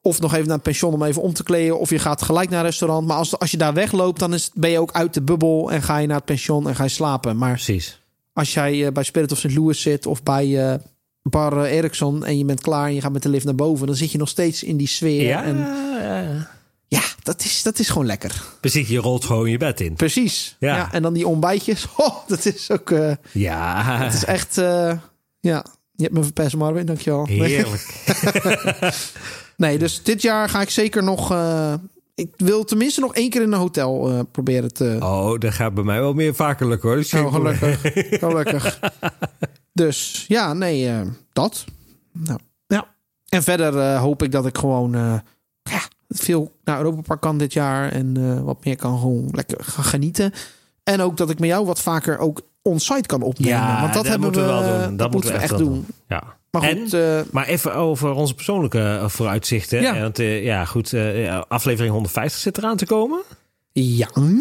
Speaker 1: of nog even naar het pension om even om te kleden, of je gaat gelijk naar een restaurant. Maar als, als je daar wegloopt, dan is, het- ben je ook uit de bubbel en ga je naar het pension en ga je slapen. Maar
Speaker 2: Precies.
Speaker 1: als jij eh, bij Spirit of St. Louis zit of bij eh, Bar eh, Ericsson en je bent klaar en je gaat met de lift naar boven, dan zit je nog steeds in die sfeer.
Speaker 2: Ja,
Speaker 1: En,
Speaker 2: eh,
Speaker 1: ja, dat is, dat is gewoon lekker.
Speaker 2: precies. Je rolt gewoon je bed in.
Speaker 1: Precies.
Speaker 2: Ja.
Speaker 1: Ja. en dan die ontbijtjes. Oh, dat is ook. eh,
Speaker 2: Ja,
Speaker 1: het is echt. eh, ja, je hebt me verpest, Marvin. Dankjewel. Nee,
Speaker 2: heerlijk.
Speaker 1: nee, dus dit jaar ga ik zeker nog. eh, ik wil tenminste nog één keer in een hotel eh, proberen te.
Speaker 2: Oh, dat gaat bij mij wel meer vaker lukken hoor. Dus
Speaker 1: Nou,
Speaker 2: ik-
Speaker 1: gelukkig. gelukkig. Dus ja, nee, eh, dat. Nou, ja. En verder eh, hoop ik dat ik gewoon eh, ja, veel naar Europa Park kan dit jaar. En eh, wat meer kan gewoon lekker gaan genieten. En ook dat ik met jou wat vaker ook onsite kan opnemen.
Speaker 2: Ja,
Speaker 1: Want dat, hebben
Speaker 2: moeten we wel doen.
Speaker 1: Dat, moeten we echt
Speaker 2: wel
Speaker 1: doen.
Speaker 2: Ja.
Speaker 1: Maar
Speaker 2: En?
Speaker 1: goed, eh,
Speaker 2: Maar even over onze persoonlijke eh, vooruitzichten.
Speaker 1: Ja.
Speaker 2: Eh, Want eh, ja, goed, eh, ja, aflevering 150 zit eraan te komen.
Speaker 1: ja. hm?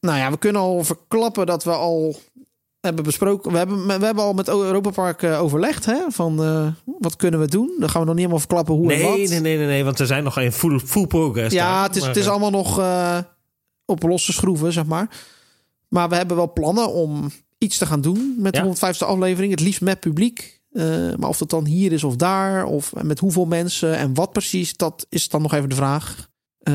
Speaker 1: Nou ja, we kunnen al verklappen dat we al hebben besproken. We hebben, we hebben al met Europa Park eh, overlegd. Hè? Van eh, wat kunnen we doen? Dan gaan we nog niet helemaal verklappen hoe en
Speaker 2: Nee,
Speaker 1: wat.
Speaker 2: nee, nee, nee, nee, want er zijn nog in full, full progress.
Speaker 1: Ja,
Speaker 2: daar.
Speaker 1: het is,
Speaker 2: Maar,
Speaker 1: het is
Speaker 2: eh,
Speaker 1: allemaal nog eh, op losse schroeven, zeg maar. Maar we hebben wel plannen om iets te gaan doen met
Speaker 2: Ja.
Speaker 1: de 105e aflevering. Het liefst met publiek. Eh, maar of dat dan hier is of daar, of met hoeveel mensen en wat precies, dat is dan nog even de vraag. Eh,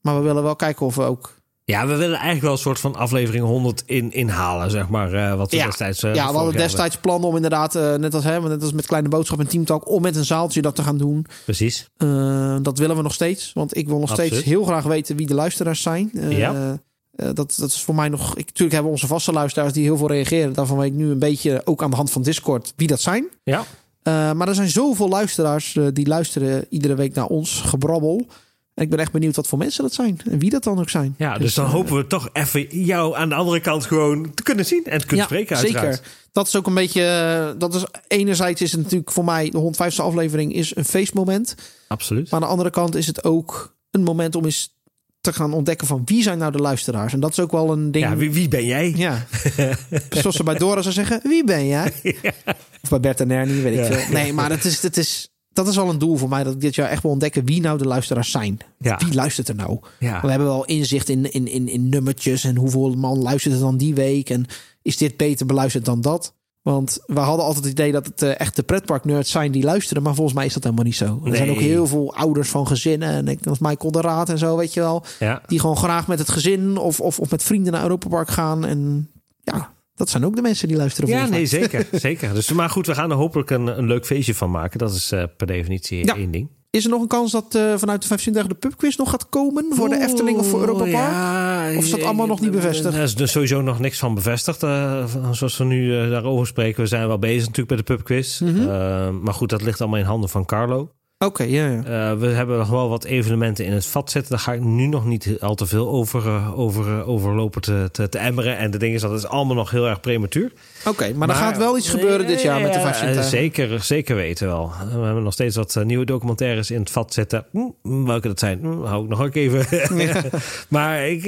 Speaker 1: maar we willen wel kijken of we ook.
Speaker 2: Ja, we willen eigenlijk wel een soort van aflevering 100 in, inhalen, zeg maar. eh, wat we
Speaker 1: Ja.
Speaker 2: destijds. eh,
Speaker 1: ja, we
Speaker 2: vorig
Speaker 1: hadden
Speaker 2: jaar
Speaker 1: destijds plannen om inderdaad, eh, net, als, hè, net als met Kleine Boodschap en Teamtalk, om met een zaaltje dat te gaan doen.
Speaker 2: hadden. Precies.
Speaker 1: Eh, dat willen we nog steeds. Want ik wil nog
Speaker 2: Absoluut.
Speaker 1: steeds heel graag weten wie de luisteraars zijn. Eh,
Speaker 2: Ja.
Speaker 1: eh, dat, dat is voor mij nog. Ik, natuurlijk hebben we onze vaste luisteraars die heel veel reageren. Daarvan weet ik nu een beetje, ook aan de hand van Discord, wie dat zijn.
Speaker 2: Ja.
Speaker 1: Eh, maar er zijn zoveel luisteraars eh, die luisteren iedere week naar ons gebrabbel. En ik ben echt benieuwd wat voor mensen dat zijn. En wie dat dan ook zijn.
Speaker 2: Ja, dus, dan
Speaker 1: eh,
Speaker 2: hopen we toch even jou aan de andere kant gewoon te kunnen zien en te kunnen spreken uiteraard.
Speaker 1: Zeker. Dat is ook een beetje. eh, Dat is, enerzijds is het natuurlijk voor mij de 105e aflevering is een feestmoment.
Speaker 2: Absoluut.
Speaker 1: Maar aan de andere kant is het ook een moment om eens te gaan ontdekken van wie zijn nou de luisteraars. En dat is ook wel een ding.
Speaker 2: Ja, wie, wie ben jij?
Speaker 1: Ja. Zoals ze bij Dora zou zeggen, wie ben jij? Of bij Bert en Ernie, weet ik
Speaker 2: Ja.
Speaker 1: veel. Nee, maar dat is, dat, is, dat is wel een doel voor mij. Dat ik dit jaar echt wil ontdekken wie nou de luisteraars zijn.
Speaker 2: Ja.
Speaker 1: Wie luistert er nou?
Speaker 2: Ja.
Speaker 1: We hebben wel inzicht in, in, in, in nummertjes en hoeveel man luistert er dan die week. En is dit beter beluisterd dan dat? Want we hadden altijd het idee dat het eh, echt de pretparknerds zijn die luisteren. Maar volgens mij is dat helemaal niet zo. Er zijn
Speaker 2: Nee.
Speaker 1: ook heel veel ouders van gezinnen. En ik, als Michael de Raad en zo, weet je wel.
Speaker 2: Ja.
Speaker 1: Die gewoon graag met het gezin of, of, of met vrienden naar Europa Park gaan. En ja, dat zijn ook de mensen die luisteren.
Speaker 2: Ja,
Speaker 1: volgens mij.
Speaker 2: nee, zeker. zeker. Dus, maar goed, we gaan er hopelijk een, een leuk feestje van maken. Dat is eh, per definitie
Speaker 1: Ja.
Speaker 2: één ding.
Speaker 1: Is er nog een kans dat eh, vanuit de 25 dagen de pubquiz nog gaat komen voor de Efteling of voor Europa Park? Of is dat allemaal nog niet bevestigd?
Speaker 2: Er is dus sowieso nog niks van bevestigd. eh, van- zoals we nu eh, daarover spreken. We zijn wel bezig natuurlijk bij de pubquiz.
Speaker 1: Mhm.
Speaker 2: Eh, maar goed, dat ligt allemaal in handen van Carlo.
Speaker 1: Oké, ja, ja.
Speaker 2: Eh, we hebben nog wel wat evenementen in het vat zitten. Daar ga ik nu nog niet al te veel over, eh, over, eh, over lopen te, te, te emmeren. En de ding is, dat is allemaal nog heel erg prematuur.
Speaker 1: Oké, maar, er gaat wel iets gebeuren dit jaar met de
Speaker 2: Ja,
Speaker 1: 25
Speaker 2: eh,
Speaker 1: dagen.
Speaker 2: Zeker, zeker weten wel. Eh, We hebben nog steeds wat eh, nieuwe documentaires in het vat zitten. Hm, welke dat zijn, hm, hou ik nog ook even. maar ik,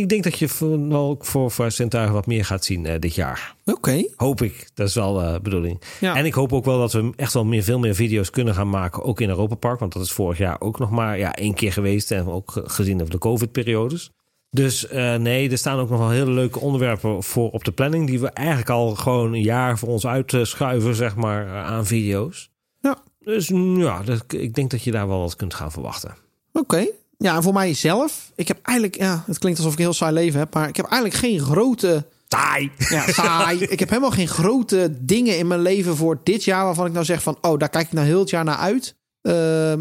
Speaker 2: ik denk dat je voor, wel ook voor, voor Sintuigen wat meer gaat zien eh, dit jaar.
Speaker 1: Oké,
Speaker 2: Hoop ik. Dat is wel eh, de bedoeling.
Speaker 1: Ja.
Speaker 2: En ik hoop ook wel dat we echt wel meer, veel meer video's kunnen gaan maken. Ook in Europa Park. Want dat is vorig jaar ook nog maar ja, één keer geweest. En ook ge- gezien de COVID-periodes. Dus eh, nee, er staan ook nog wel hele leuke onderwerpen voor op de planning. Die we eigenlijk al gewoon een jaar voor ons uitschuiven, zeg maar, eh, aan video's.
Speaker 1: Ja.
Speaker 2: Dus mm, ja, dat, ik denk dat je daar wel wat kunt gaan verwachten.
Speaker 1: oké. Ja, en voor mijzelf, ik heb eigenlijk, ja, het klinkt alsof ik een heel saai leven heb, maar ik heb eigenlijk geen grote,
Speaker 2: Taai!
Speaker 1: ja, saai. ik heb helemaal geen grote dingen in mijn leven voor dit jaar waarvan ik nou zeg van, oh, daar kijk ik nou heel het jaar naar uit. Ehm,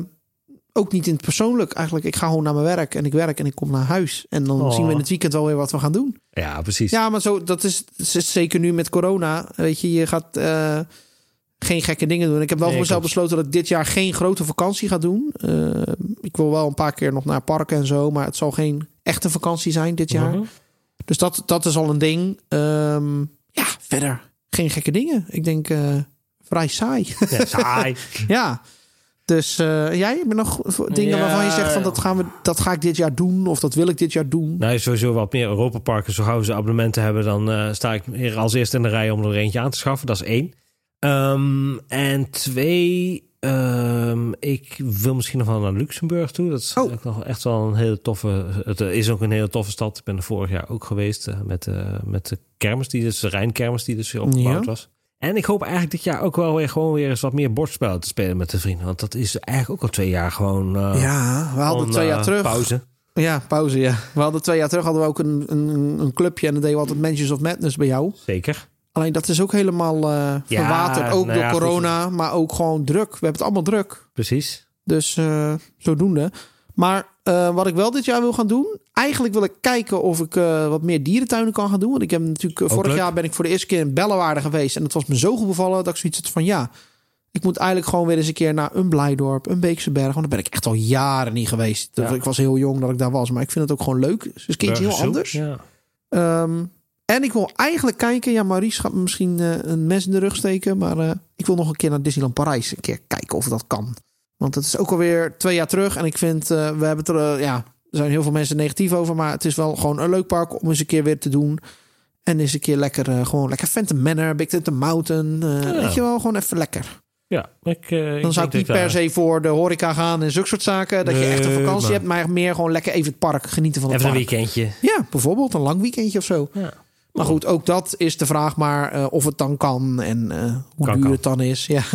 Speaker 1: ook niet in het persoonlijk eigenlijk. Ik ga gewoon naar mijn werk en ik werk en ik kom naar huis. En dan
Speaker 2: Oh.
Speaker 1: zien we in het weekend wel weer wat we gaan doen.
Speaker 2: Ja, precies.
Speaker 1: Ja, maar zo, dat is, dat is zeker nu met corona. Weet je, je gaat eh, geen gekke dingen doen. Ik heb wel
Speaker 2: Nee,
Speaker 1: voor mezelf
Speaker 2: klopt.
Speaker 1: besloten dat ik dit jaar geen grote vakantie ga doen. Eh, ik wil wel een paar keer nog naar parken en zo, maar het zal geen echte vakantie zijn dit jaar.
Speaker 2: Mhm.
Speaker 1: Dus dat, dat is al een ding. Ehm, ja, verder geen gekke dingen. Ik denk eh, vrij saai.
Speaker 2: Ja, saai.
Speaker 1: ja. Dus eh, jij hebt nog dingen
Speaker 2: Ja.
Speaker 1: waarvan je zegt van dat, gaan we, dat ga ik dit jaar doen of dat wil ik dit jaar doen.
Speaker 2: Nou, sowieso wat meer Europa-parken. Zo gauw ze abonnementen hebben, dan eh, sta ik weer als eerste in de rij om er eentje aan te schaffen. Dat is één. Ehm, en twee, ehm, ik wil misschien nog wel naar Luxemburg toe. Dat is
Speaker 1: Oh.
Speaker 2: ook nog echt wel een hele toffe... Het eh, is ook een hele toffe stad. Ik ben er vorig jaar ook geweest eh, met, eh, met de kermis, die dus, de Rijnkermis, die dus weer opgebouwd
Speaker 1: Ja.
Speaker 2: was. En ik hoop eigenlijk dit jaar ook wel weer gewoon weer eens wat meer bordspellen te spelen met de vrienden. Want dat is eigenlijk ook al twee jaar gewoon... eh,
Speaker 1: ja, we hadden
Speaker 2: gewoon,
Speaker 1: twee jaar
Speaker 2: eh,
Speaker 1: terug.
Speaker 2: Pauze.
Speaker 1: Ja, pauze, ja. We hadden twee jaar terug hadden we ook een, een, een clubje en dan deden we altijd Mansions of Madness bij jou.
Speaker 2: Zeker.
Speaker 1: Alleen dat is ook helemaal eh
Speaker 2: Ja,
Speaker 1: verwaterd, ook
Speaker 2: nou
Speaker 1: door
Speaker 2: ja,
Speaker 1: corona, maar ook gewoon druk. We hebben het allemaal druk,
Speaker 2: Precies.
Speaker 1: dus eh, zodoende. Maar eh, wat ik wel dit jaar wil gaan doen, eigenlijk wil ik kijken of ik eh, wat meer dierentuinen kan gaan doen. Want ik heb natuurlijk, eh,
Speaker 2: Ook
Speaker 1: vorig
Speaker 2: leuk.
Speaker 1: jaar ben ik voor de eerste keer in Bellewaarde geweest en het was me zo goed bevallen dat ik zoiets had van ja, ik moet eigenlijk gewoon weer eens een keer naar een Blijdorp, een Beekse Berg. Want daar ben ik echt al jaren niet geweest.
Speaker 2: Ja.
Speaker 1: Ik was heel jong dat ik daar was, maar ik vind het ook gewoon leuk. Dus een keertje heel
Speaker 2: Burgers Zoo.
Speaker 1: anders.
Speaker 2: Ja.
Speaker 1: Ehm, en ik wil eigenlijk kijken. Ja, Maurice gaat me misschien eh, een mes in de rug steken. Maar eh, ik wil nog een keer naar Disneyland Parijs. Een keer kijken of dat kan. Want dat is ook alweer twee jaar terug. En ik vind, eh, we hebben het er, eh, ja, er zijn heel veel mensen negatief over. Maar het is wel gewoon een leuk park om eens een keer weer te doen. En eens een keer lekker, eh, gewoon lekker Phantom Manor, Big Thunder Mountain. eh,
Speaker 2: Ja.
Speaker 1: Weet je wel, gewoon even lekker.
Speaker 2: Ja, ik, eh, ik
Speaker 1: Dan zou ik
Speaker 2: denk
Speaker 1: niet
Speaker 2: dat
Speaker 1: per
Speaker 2: daar-
Speaker 1: se voor de horeca gaan en zulke soort zaken. Dat je echt een
Speaker 2: Nee,
Speaker 1: vakantie
Speaker 2: maar-
Speaker 1: hebt, maar meer gewoon lekker even het park genieten van het
Speaker 2: Even een
Speaker 1: park.
Speaker 2: weekendje.
Speaker 1: Ja, bijvoorbeeld een lang weekendje of zo.
Speaker 2: Ja.
Speaker 1: Maar goed, ook dat is de vraag maar eh, of het dan kan en eh, hoe
Speaker 2: Kan,
Speaker 1: duur
Speaker 2: kan.
Speaker 1: het dan is. Ja.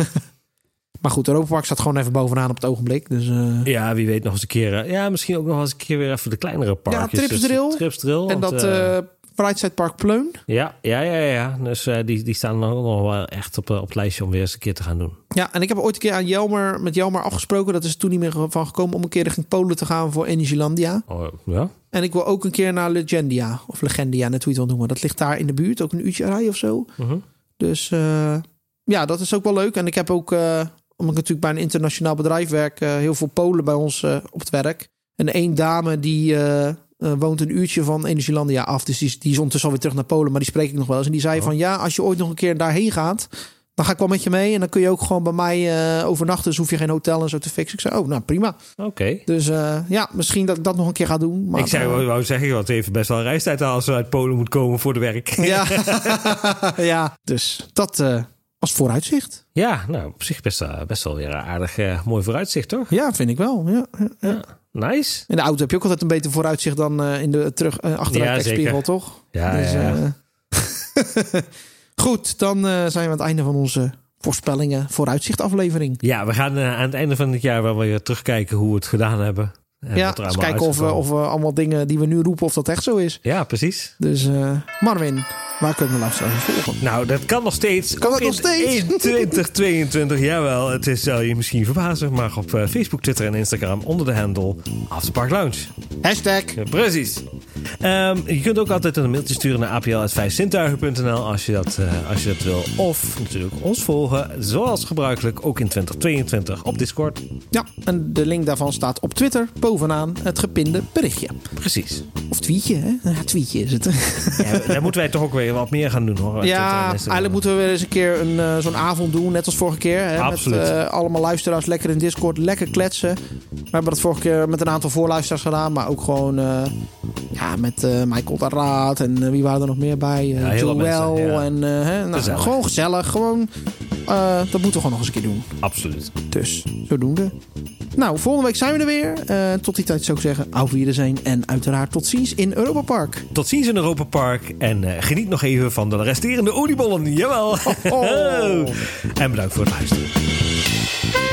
Speaker 1: maar goed, Europa Park staat gewoon even bovenaan op het ogenblik. Dus, eh,
Speaker 2: ja, wie weet nog eens een keer. eh, ja, misschien ook nog eens een keer weer even de kleinere parkjes.
Speaker 1: Trips
Speaker 2: Dus
Speaker 1: Drill.
Speaker 2: Trips
Speaker 1: en
Speaker 2: Drill, want,
Speaker 1: dat
Speaker 2: eh,
Speaker 1: eh Brightside Park Pleun.
Speaker 2: ja, ja, ja, ja. Dus eh, die, die staan nog nog wel echt op, eh, op het lijstje om weer eens een keer te gaan doen.
Speaker 1: Ja, en ik heb ooit een keer aan Jelmer, met Jelmer afgesproken. Dat is toen niet meer van gekomen om een keer richting Polen te gaan voor Energielandia.
Speaker 2: Oh, ja?
Speaker 1: En ik wil ook een keer naar Legendia. Of Legendia, net hoe je het wil noemen. Dat ligt daar in de buurt, ook een uurtje rij of zo.
Speaker 2: Mhm.
Speaker 1: Dus eh, ja, dat is ook wel leuk. En ik heb ook, eh, omdat ik natuurlijk bij een internationaal bedrijf werk, eh, heel veel Polen bij ons eh, op het werk. En één dame die eh, eh, woont een uurtje van Energielandia af. Dus die, is- die is ondertussen alweer terug naar Polen, maar die spreek ik nog wel eens. En die
Speaker 2: Oh.
Speaker 1: zei van ja, als je ooit nog een keer daarheen gaat, dan ga ik wel met je mee. En dan kun je ook gewoon bij mij eh, overnachten. Dus hoef je geen hotel en zo te fixen. Ik zei, oh, nou prima.
Speaker 2: Oké.
Speaker 1: Dus eh, ja, misschien dat ik dat nog een keer ga doen. Maar,
Speaker 2: Ik zei,
Speaker 1: eh,
Speaker 2: wou, wou zeggen, want even best wel reistijd aan als ze uit Polen moet komen voor de werk.
Speaker 1: ja. ja, dus dat eh, als vooruitzicht.
Speaker 2: Ja, nou, op zich best, eh, best wel weer een aardig eh, mooi vooruitzicht, toch?
Speaker 1: Ja, vind ik wel. Ja. ja, ja.
Speaker 2: Nice.
Speaker 1: In de auto heb je ook altijd een beter vooruitzicht dan eh, in de terug eh, achteruit
Speaker 2: Ja, zeker.
Speaker 1: kijkspiegel, toch?
Speaker 2: Ja,
Speaker 1: Dus,
Speaker 2: ja.
Speaker 1: eh, Goed, dan eh, zijn we aan het einde van onze voorspellingen vooruitzicht aflevering.
Speaker 2: Ja, we gaan eh, aan het einde van het jaar wel weer terugkijken hoe we het gedaan hebben. En
Speaker 1: ja,
Speaker 2: wat er
Speaker 1: eens
Speaker 2: allemaal
Speaker 1: kijken of we,
Speaker 2: uitgekomen
Speaker 1: of we allemaal dingen die we nu roepen, of dat echt zo is.
Speaker 2: is. Ja, precies.
Speaker 1: Dus eh, Marvin, waar kunnen we luisteren volgen?
Speaker 2: Nou, dat kan nog steeds.
Speaker 1: Kan dat
Speaker 2: Ook
Speaker 1: nog
Speaker 2: in
Speaker 1: steeds?
Speaker 2: 2022, jawel. Het is, zal je misschien verbazen, maar op eh, Facebook, Twitter en Instagram onder de handle Afterpark Lounge.
Speaker 1: Hashtag.
Speaker 2: Ja, precies. Ehm, je kunt ook altijd een mailtje sturen naar apl.vijfzintuigen.nl als, je dat, eh, als je dat wil. Of natuurlijk ons volgen, zoals gebruikelijk, ook in 2022 op Discord.
Speaker 1: Ja, en de link daarvan staat op Twitter bovenaan het gepinde berichtje.
Speaker 2: Precies.
Speaker 1: Of tweetje, hè? Ja, tweetje is het.
Speaker 2: Ja, daar moeten wij toch ook weer wat meer gaan doen hoor.
Speaker 1: Ja, eigenlijk moeten we weer eens een keer een, eh, zo'n avond doen, net als vorige keer. Hè,
Speaker 2: Absoluut.
Speaker 1: Met eh, allemaal luisteraars lekker in Discord, lekker kletsen. We hebben dat vorige keer met een aantal voorluisteraars gedaan, maar ook gewoon eh, ja, met eh, Michael de Raad en eh, wie waren er nog meer bij? Eh,
Speaker 2: Ja, heel wat
Speaker 1: Joël
Speaker 2: mensen, ja.
Speaker 1: en eh, hè, nou,
Speaker 2: Gezellig.
Speaker 1: gewoon gezellig. Gewoon, eh, dat moeten we gewoon nog eens een keer doen.
Speaker 2: Absoluut.
Speaker 1: Dus, zodoende. Nou, volgende week zijn we er weer. Eh, tot die tijd zou ik zeggen, auf zijn en uiteraard tot ziens in Europa Park.
Speaker 2: Tot ziens in Europa Park en eh, geniet nog even van de resterende oliebollen. Jawel.
Speaker 1: oh.
Speaker 2: en bedankt voor het luisteren.
Speaker 3: Thank